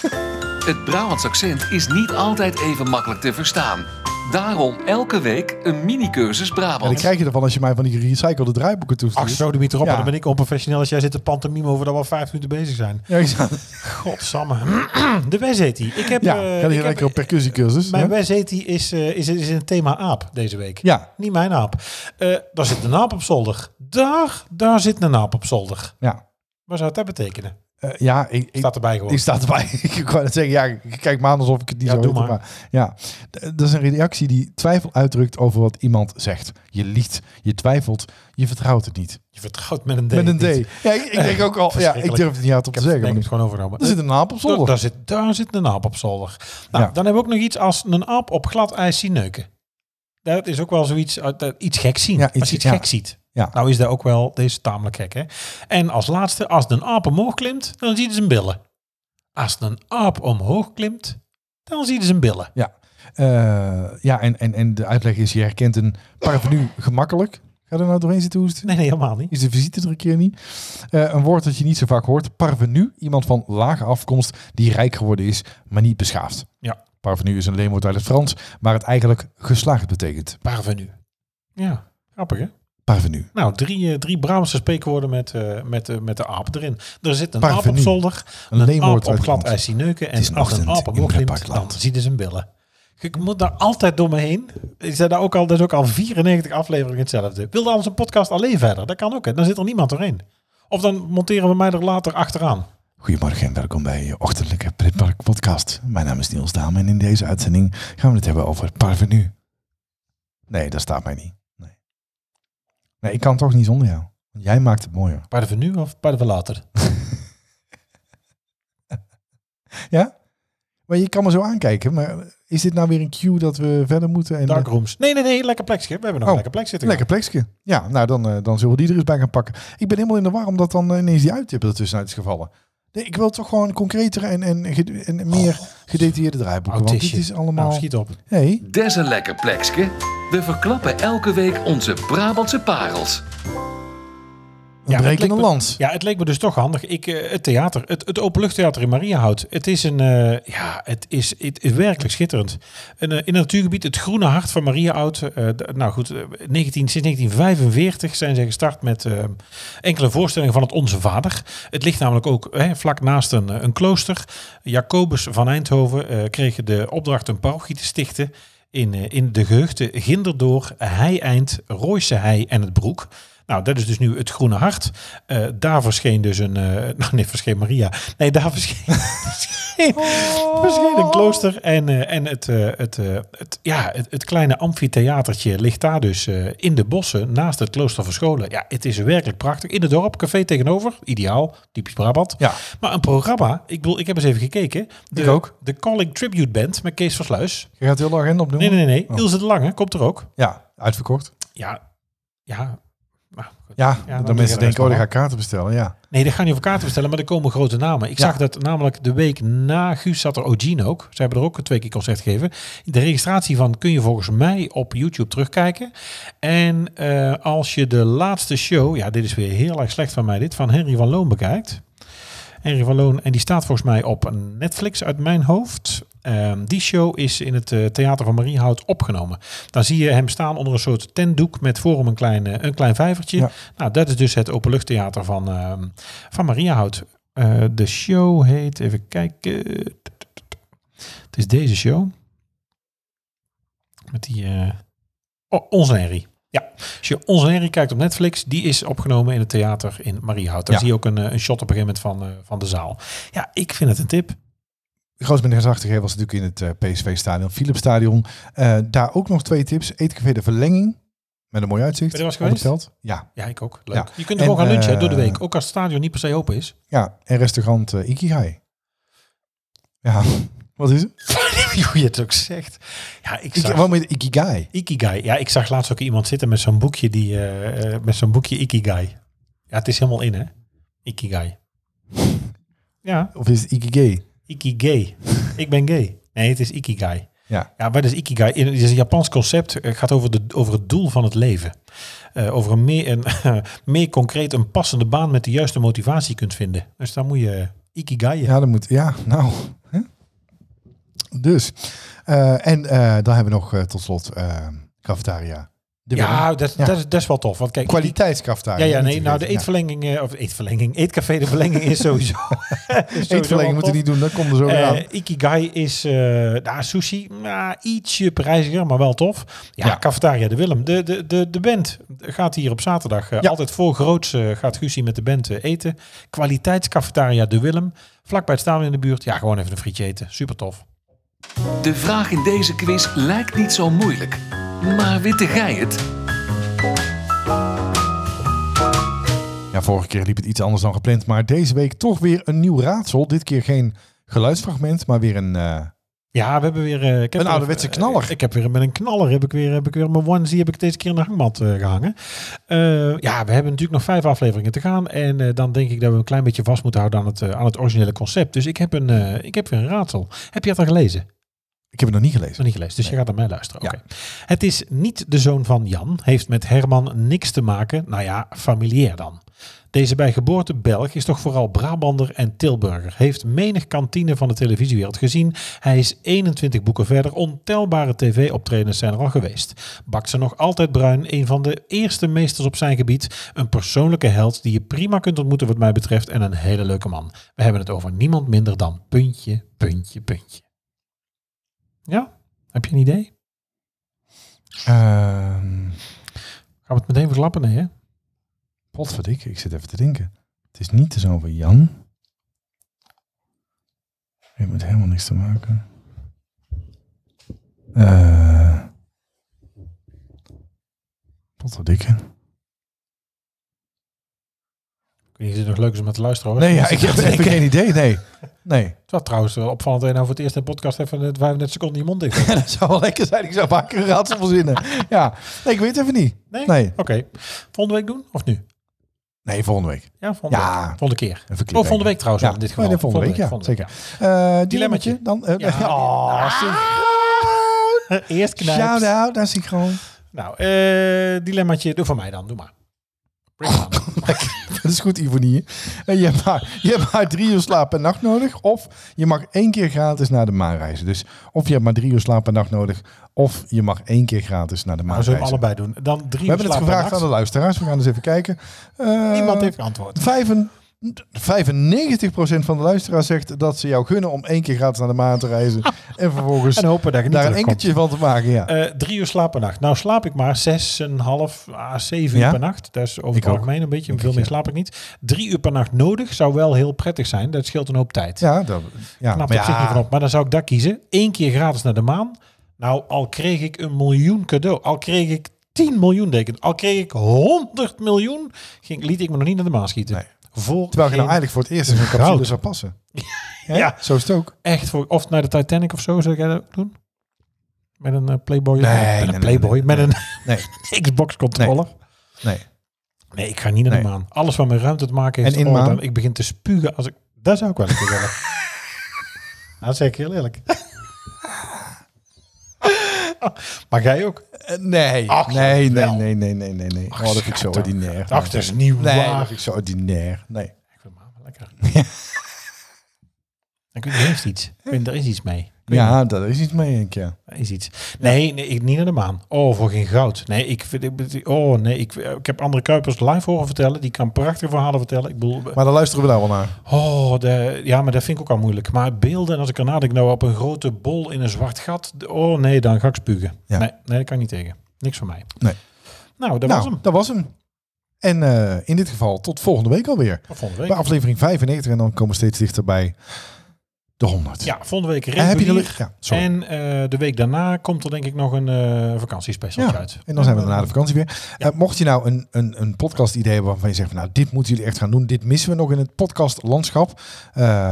Het Brabants accent is niet altijd even makkelijk te verstaan. Daarom elke week een mini-cursus En dan Brabant. krijg je ervan als je mij van die gerecyclede draaiboeken Ach toestuurt. zo, Dimitri, op. Ja. Dan ben ik onprofessioneel als jij zit te pantomime over dat we al vijf minuten bezig zijn. Ja, ik zou- Godsamme. De Wes heet die. Ik heb... ja, eh, ga ik die heb- lekker op percussiecursus. Mijn hè? Wes heet die is, eh, is, is een thema aap deze week. Ja. Niet mijn aap. Eh, daar zit een aap op zolder. Daar, daar zit een aap op zolder. Ja, Wat zou dat betekenen? Eh, ja ik, ik, Staat erbij gewoon. Ik sta erbij. ik kan het zeggen, ja, ik kijk maar aan alsof ik het niet Ja, zo doe weet, maar. ja, D- dat is een reactie die twijfel uitdrukt over wat iemand zegt. Je liegt, je twijfelt, je vertrouwt het niet. Je vertrouwt met een D. Met een niet. D. Ja, ik, ik denk ook al, ja, ik Verschrikkelijk. durf het niet hardop Ik te zeggen. heb het, denk maar ik gewoon overgenomen. Er zit een aap op daar, zolder. daar zit, daar zit een aap op zolder. Nou, Ja. dan hebben we ook nog iets als een aap op glad ijs zien neuken. Dat is ook wel zoiets, eh, dat- iets gek zien. Ja, als iets- je iets ja. gek ziet. Ja. Nou is dat ook wel, deze tamelijk gek hè. En als laatste, als een aap omhoog klimt, dan ziet ze zijn billen. Als een aap omhoog klimt, dan ziet ze zijn billen. Ja, Eh, ja en, en, en de uitleg is, je herkent een parvenu gemakkelijk. Ga er nou doorheen zitten hoesten? Nee, nee, helemaal niet. Is de visite er een keer niet? Eh, een woord dat je niet zo vaak hoort. Parvenu, iemand van lage afkomst die rijk geworden is, maar niet beschaafd. Ja. Parvenu is een leenwoord uit het Frans, waar het eigenlijk geslaagd betekent. Parvenu. Ja, grappig hè. Parvenu. Nou, drie, eh, drie Brabantse spreekwoorden met, eh, met, eh, met de aap erin. Er zit een aap op Parvenu. zolder, Een een, leenwoord aap op uit glad Brabant. ijs die neuken Het is en als een ochtend aap op in klimt, dan pretparkland. ziet hij zijn billen. Ik moet daar altijd door me heen. Ik zei daar ook al, dat is ook al 94 afleveringen hetzelfde. Wil dan onze podcast alleen verder? Dat kan ook, hè. dan zit er niemand doorheen. Of dan monteren we mij er later achteraan. Goedemorgen en welkom bij je ochtendelijke Pretpark podcast. Mijn naam is Niels Daam en in deze uitzending gaan we het hebben over parvenu. Nee, dat staat mij niet. Nee, nee ik kan toch niet zonder jou. Want jij maakt het mooier. Paarden van nu of paarden van later? Ja? Maar je kan me zo aankijken, maar is dit nou weer een cue dat we verder moeten? En Darkrooms. Nee, nee, nee, lekker plekje. We hebben nog Oh, een lekker plek zitten. Lekker plekje. Ja, nou dan, eh, dan zullen we die er eens bij gaan pakken. Ik ben helemaal in de war omdat dan eh, ineens die uittip er tussenuit is gevallen. Nee, ik wil toch gewoon concreter en, en, ged- en meer gedetailleerde draaiboeken. Want dit Autistje. is allemaal... Oh, Nou, schiet op. Nee, Des een lekker plekske. We verklappen elke week onze Brabantse parels. een het leek brekende me- lans. Ja, het leek me dus toch handig. Ik, eh, het theater, het, het openluchttheater in Mariahout. Het is een, eh, ja, het is, het is werkelijk schitterend. Een, eh, in het natuurgebied, het groene hart van Mariahout. eh, d- nou goed, eh, 19, sinds 1945 zijn ze gestart met eh, enkele voorstellingen van het Onze Vader. Het ligt namelijk ook hè, vlak naast een, eh, een klooster. Jacobus van Eindhoven eh, kreeg de opdracht een parochie te stichten. In, eh, in de geheugden Ginderdoor, Heieind, Rooise Hei en het Broek. Nou, dat is dus nu het Groene Hart. Eh, daar verscheen dus een... eh, nou, nee, verscheen Maria. Nee, daar verscheen, verscheen, verscheen een klooster. En, eh, en het, eh, het, eh, het, ja, het, het kleine amfitheatertje ligt daar dus eh, in de bossen naast het klooster verscholen. Ja, het is werkelijk prachtig. In het dorp, café tegenover. Ideaal, typisch Brabant. Ja. Maar een programma, ik bedoel, ik heb eens even gekeken. De, Ik ook. De Calling Tribute Band met Kees Versluis. Je gaat heel de agenda opnoemen? Nee, nee, nee. nee. Oh. Ilse de Lange komt er ook. Ja, uitverkocht. Ja, ja. Nou, goed. Ja, dan dan doe je mensen denken, oh, restaurant. dan ga ik kaarten bestellen. Ja, Nee, dat gaan niet over kaarten bestellen, maar er komen grote namen. Ik Ja. zag dat namelijk de week na Guus zat er Ogene ook. Ze hebben er ook twee keer concert gegeven. De registratie van kun je volgens mij op YouTube terugkijken. En eh, als je de laatste show, ja, dit is weer heel erg slecht van mij, dit van Henry van Loon bekijkt. Henry van Loon, en die staat volgens mij op Netflix uit mijn hoofd. Ehm, die show is in het eh, Theater van Mariehout opgenomen. Dan zie je hem staan onder een soort tentdoek met voor hem een klein, eh, een klein vijvertje. Ja. Nou, dat is dus het openluchttheater van, ehm van Mariahout. Eh, de show heet, even kijken. Het is deze show. Met die. eh oh, Onze Henry. Ja, als je Onze Henry kijkt op Netflix, die is opgenomen in het theater in Mariehout. Daar Ja. zie je ook een, eh, een shot op een gegeven moment van, eh, van de zaal. Ja, ik vind het een tip. Grootmiddag was natuurlijk in het eh, PSV-stadion, Philips Stadion. Eh, daar ook nog twee tips. Eetcafé De Verlenging Met een mooi uitzicht Ben je er op wel het eens veld. Ja, Ja, ik ook. Leuk. Ja. Je kunt En, er gewoon gaan lunchen hè, door de eh, week. Ook als het stadion niet per se open is. ja. En restaurant eh, Ikigai. Ja, wat is het? Hoe je het ook zegt. Ja, ik Ik, zag... wat met Ikigai? Ikigai. Ja, ik zag laatst ook iemand zitten met zo'n boekje die... eh, eh, met zo'n boekje Ikigai. Ja, het is helemaal in, hè? Ikigai. Ja, Of is het Ikigai? Ikigai. ik ben gay. Nee, het is Ikigai. Ja. Ja, wat is Ikigai? In- Het is een Japans concept. Het gaat over, de, over het doel van het leven. Eh, over een meer, een, meer concreet een passende baan met de juiste motivatie kunt vinden. Dus daar moet je Ikigai. Ja, dat moet. Ja, nou. hè? Dus. eh, en eh, dan hebben we nog eh, tot slot eh cafetaria. De winnaar. Ja, dat, Ja. Dat, is, dat is wel tof. Want kijk, kwaliteitscafetaria. Ja, ja, niet te nee. Nou, de vergeten. eetverlenging, eh, of eetverlenging, eetcafé de verlenging is sowieso. is sowieso Ja. Eetverlenging wel moeten we top. niet doen, dat komt er zo weer Eh, aan. Ikigai is eh nou, sushi, nou, ietsje prijziger, maar wel tof. Ja, Ja. Cafetaria de Willem. De, de, de, de band gaat hier op zaterdag eh, Ja. altijd voor groots eh, gaat Guusje met de band eh, eten. Kwaliteitscafetaria de Willem. Vlakbij het stadion in de buurt. Ja, gewoon even een frietje eten. Super tof. De vraag in deze quiz lijkt niet zo moeilijk. Maar witte gij het? Ja, vorige keer liep het iets anders dan gepland, maar deze week toch weer een nieuw raadsel. Dit keer geen geluidsfragment, maar weer een. eh, Ja, we hebben weer... eh, ik heb Een ouderwetse eh, knaller. ik heb weer met een knaller, heb ik weer, heb ik weer mijn onesie, heb ik deze keer in de hangmat eh, gehangen. Eh, ja, we hebben natuurlijk nog vijf afleveringen te gaan. En eh, dan denk ik dat we een klein beetje vast moeten houden aan het, eh, aan het originele concept. Dus ik heb, een, eh, ik heb weer een raadsel. Heb je dat al gelezen? ik heb het nog niet Nog gelezen. niet gelezen, dus je gaat naar mij luisteren. Ja. Oké. Het is niet de zoon van Jan, heeft met Herman niks te maken. Nou ja, familiair dan. Deze bij geboorte Belg is toch vooral Brabander en Tilburger. Heeft menig kantine van de televisiewereld gezien. Hij is 21 boeken verder. Ontelbare tv-optredens zijn er al geweest. Bakt ze nog altijd bruin. Een van de eerste meesters op zijn gebied. Een persoonlijke held die je prima kunt ontmoeten wat mij betreft. En een hele leuke man. We hebben het over niemand minder dan puntje, puntje, puntje. Ja? Heb je een idee? Ehm Gaan we het meteen verklappen? Nee, hè? potverdikke, ik zit even te denken. Het is niet de zoon van Jan. Heeft met helemaal niks te maken. Eh potverdikke. Ik weet niet of het nog leuk is om naar te luisteren. Hoor. Nee, ja, Het ik is- heb even geen idee. Nee. Nee. Het was trouwens wel opvallend dat je nou voor het eerst in een podcast even eh, 35 seconden in je mond dicht hebt. dat zou wel lekker zijn. Ik zou vaker een raadsel verzinnen. Ja. Nee, ik weet het even niet. Nee? Nee. Oké. Volgende week doen? Of nu? Nee, volgende week. Ja, volgende, Ja. Week. volgende keer. Even Oh, volgende week trouwens Ja, wel in dit oh, geval. nee, volgende week, ja, Eh dilemmetje dan. eh, Ja. Oh, ja. Eerst Shout knijpen. out naar Synchroon. Nou, eh dilemmaatje. Doe van mij dan. Doe maar. Bring it on. Dat is goed, Ivonie. En je, hebt maar, je hebt maar drie uur slaap per nacht nodig. Of je mag één keer gratis naar de maan reizen. Dus of je hebt maar drie uur slaap per nacht nodig. Of je mag één keer gratis naar de maan Nou, zullen we reizen. allebei doen. Dan drie Ah, We hebben het gevraagd aan de luisteraars. We gaan eens even kijken. Eh, Niemand heeft geantwoord. 95% van de luisteraars zegt dat ze jou gunnen om één keer gratis naar de maan te reizen. En vervolgens En hopen dat je niet daar een terugkomt. enkeltje van te maken. Ja. Eh, drie uur slaap per nacht. Nou slaap ik maar zes en een half à zeven Ja? uur per nacht. Dat is over Ik het ook. algemeen een beetje. Ik Veel ook, meer ja. slaap ik niet. Drie uur per nacht nodig zou wel heel prettig zijn. Dat scheelt een hoop tijd. ja, dat, ja. maar Knapt nou, op zich ja, niet van op. Maar dan zou ik dat kiezen. Eén keer gratis naar de maan. Nou, al kreeg ik een miljoen cadeau. Al kreeg ik 10 miljoen deken. Al kreeg ik 100 miljoen. Ging, liet ik me nog niet naar de maan schieten. Nee. Voor Terwijl je nou geen- eigenlijk voor het eerst in zo'n Goud. capsule zou passen. Hè? Ja. Zo is het ook. echt voor... Of naar de Titanic of zo zou jij dat doen? Met een eh, Playboy? Nee, nee, met nee, een Playboy? nee, nee. Met Nee, een Xbox controller? nee. Nee, ik ga niet naar de Nee. maan. Alles wat met ruimte te maken heeft. En in oh, maan? dan- ik begin te spugen als ik... Dat zou ik wel een keer willen. Dat zeg ik heel eerlijk. maar jij ook? Eh, Nee. Ach, nee, nee, wel. nee, nee, nee, nee, nee. Oh, dat vind ik zo schat, ordinair. Ach, dat is Nee, niet dat waar. vind ik zo ordinair. Nee. Ik vind maan wel lekker. Ik weet, er is iets. Ik weet, er is iets mee. Ik weet Ja, daar is iets mee, denk ik. Ja. Er is iets. Nee, nee ik, niet naar de maan. Oh, voor geen goud. Nee, ik, vind- ik, oh, nee, ik, ik heb andere Kuipers live horen vertellen. Die kan prachtige verhalen vertellen. Ik bedoel, Maar daar luisteren we daar wel naar. Oh, de, ja, maar dat vind ik ook al moeilijk. Maar beelden, en als ik erna denk, nou op een grote bol in een zwart gat. d- Oh nee, dan ga ik spugen. Ja. Nee, nee, dat kan ik niet tegen. Niks van mij. Nee. Nou, dat nou, was hem. dat was hem. En eh, in dit geval tot volgende week alweer. Tot Volgende Bij week. aflevering 95 en dan komen we steeds dichterbij de 100. Ja, volgende week en Eh, heb je de regulier. lucht? Ja, sorry. en eh, de week daarna komt er denk ik nog een eh vakantiespecial Ja, uit. en dan zijn we daarna de vakantie weer. Ja. Eh, mocht je nou een, een, een podcast idee hebben waarvan je zegt, van, nou dit moeten jullie echt gaan doen. Dit missen we nog in het podcast landschap.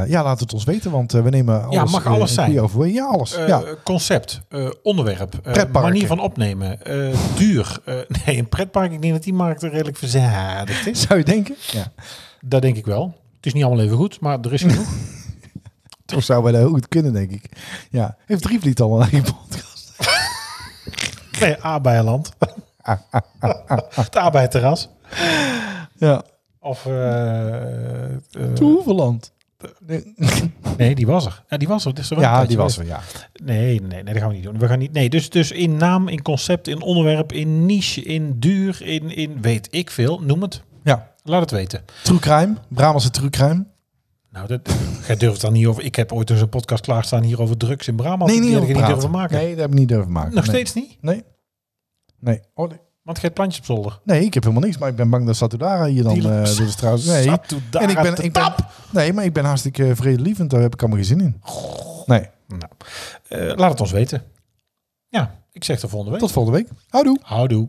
ja, laat het ons weten, want eh, we nemen alles. mag eh, alles in zijn. goede overweging. Ja, alles. Eh, ja. Concept, eh, onderwerp, eh, Pretparken. manier van opnemen, eh, duur. Eh, nee, een pretpark, ik denk dat die markt er redelijk verzadigd is. Zou je denken? Ja. Dat denk ik wel. Het is niet allemaal even goed, maar er is genoeg. Toch zou wij dat heel goed kunnen, denk ik. Ja. Heeft Drievliet al een eigen podcast? nee, Abeiland. het Abeiterras. Ja. Of, eh, eh, Toeverland. nee, die was er. Ja, die was er. Dus er wel een Ja, tijdje die was weg. er, ja. Nee, nee, nee, dat gaan we niet doen. We gaan niet, nee, dus, dus in naam, in concept, in onderwerp, in niche, in duur, in, in weet ik veel. Noem het. Ja. Laat het weten. True Crime. Brabantse True Crime. Nou, dat, jij durft dan niet over. Ik heb ooit eens een podcast klaarstaan hier over drugs in Brabant. nee, Die niet had ik over niet praten. durven maken. Nee, dat heb ik niet durven maken. Nog nee. steeds niet? Nee. Nee. Oh, nee. Want jij hebt plantjes op zolder. Nee, ik heb helemaal niks, maar ik ben bang dat Satudara hier dan Die- eh door de straat... Nee, Satudara en ik te ben, ik ben, nee, maar ik ben hartstikke vredelievend, daar heb ik allemaal geen zin in. Nee, Eh, laat het ons weten. Ja, ik zeg de volgende week. tot volgende week. Houdoe! Houdoe.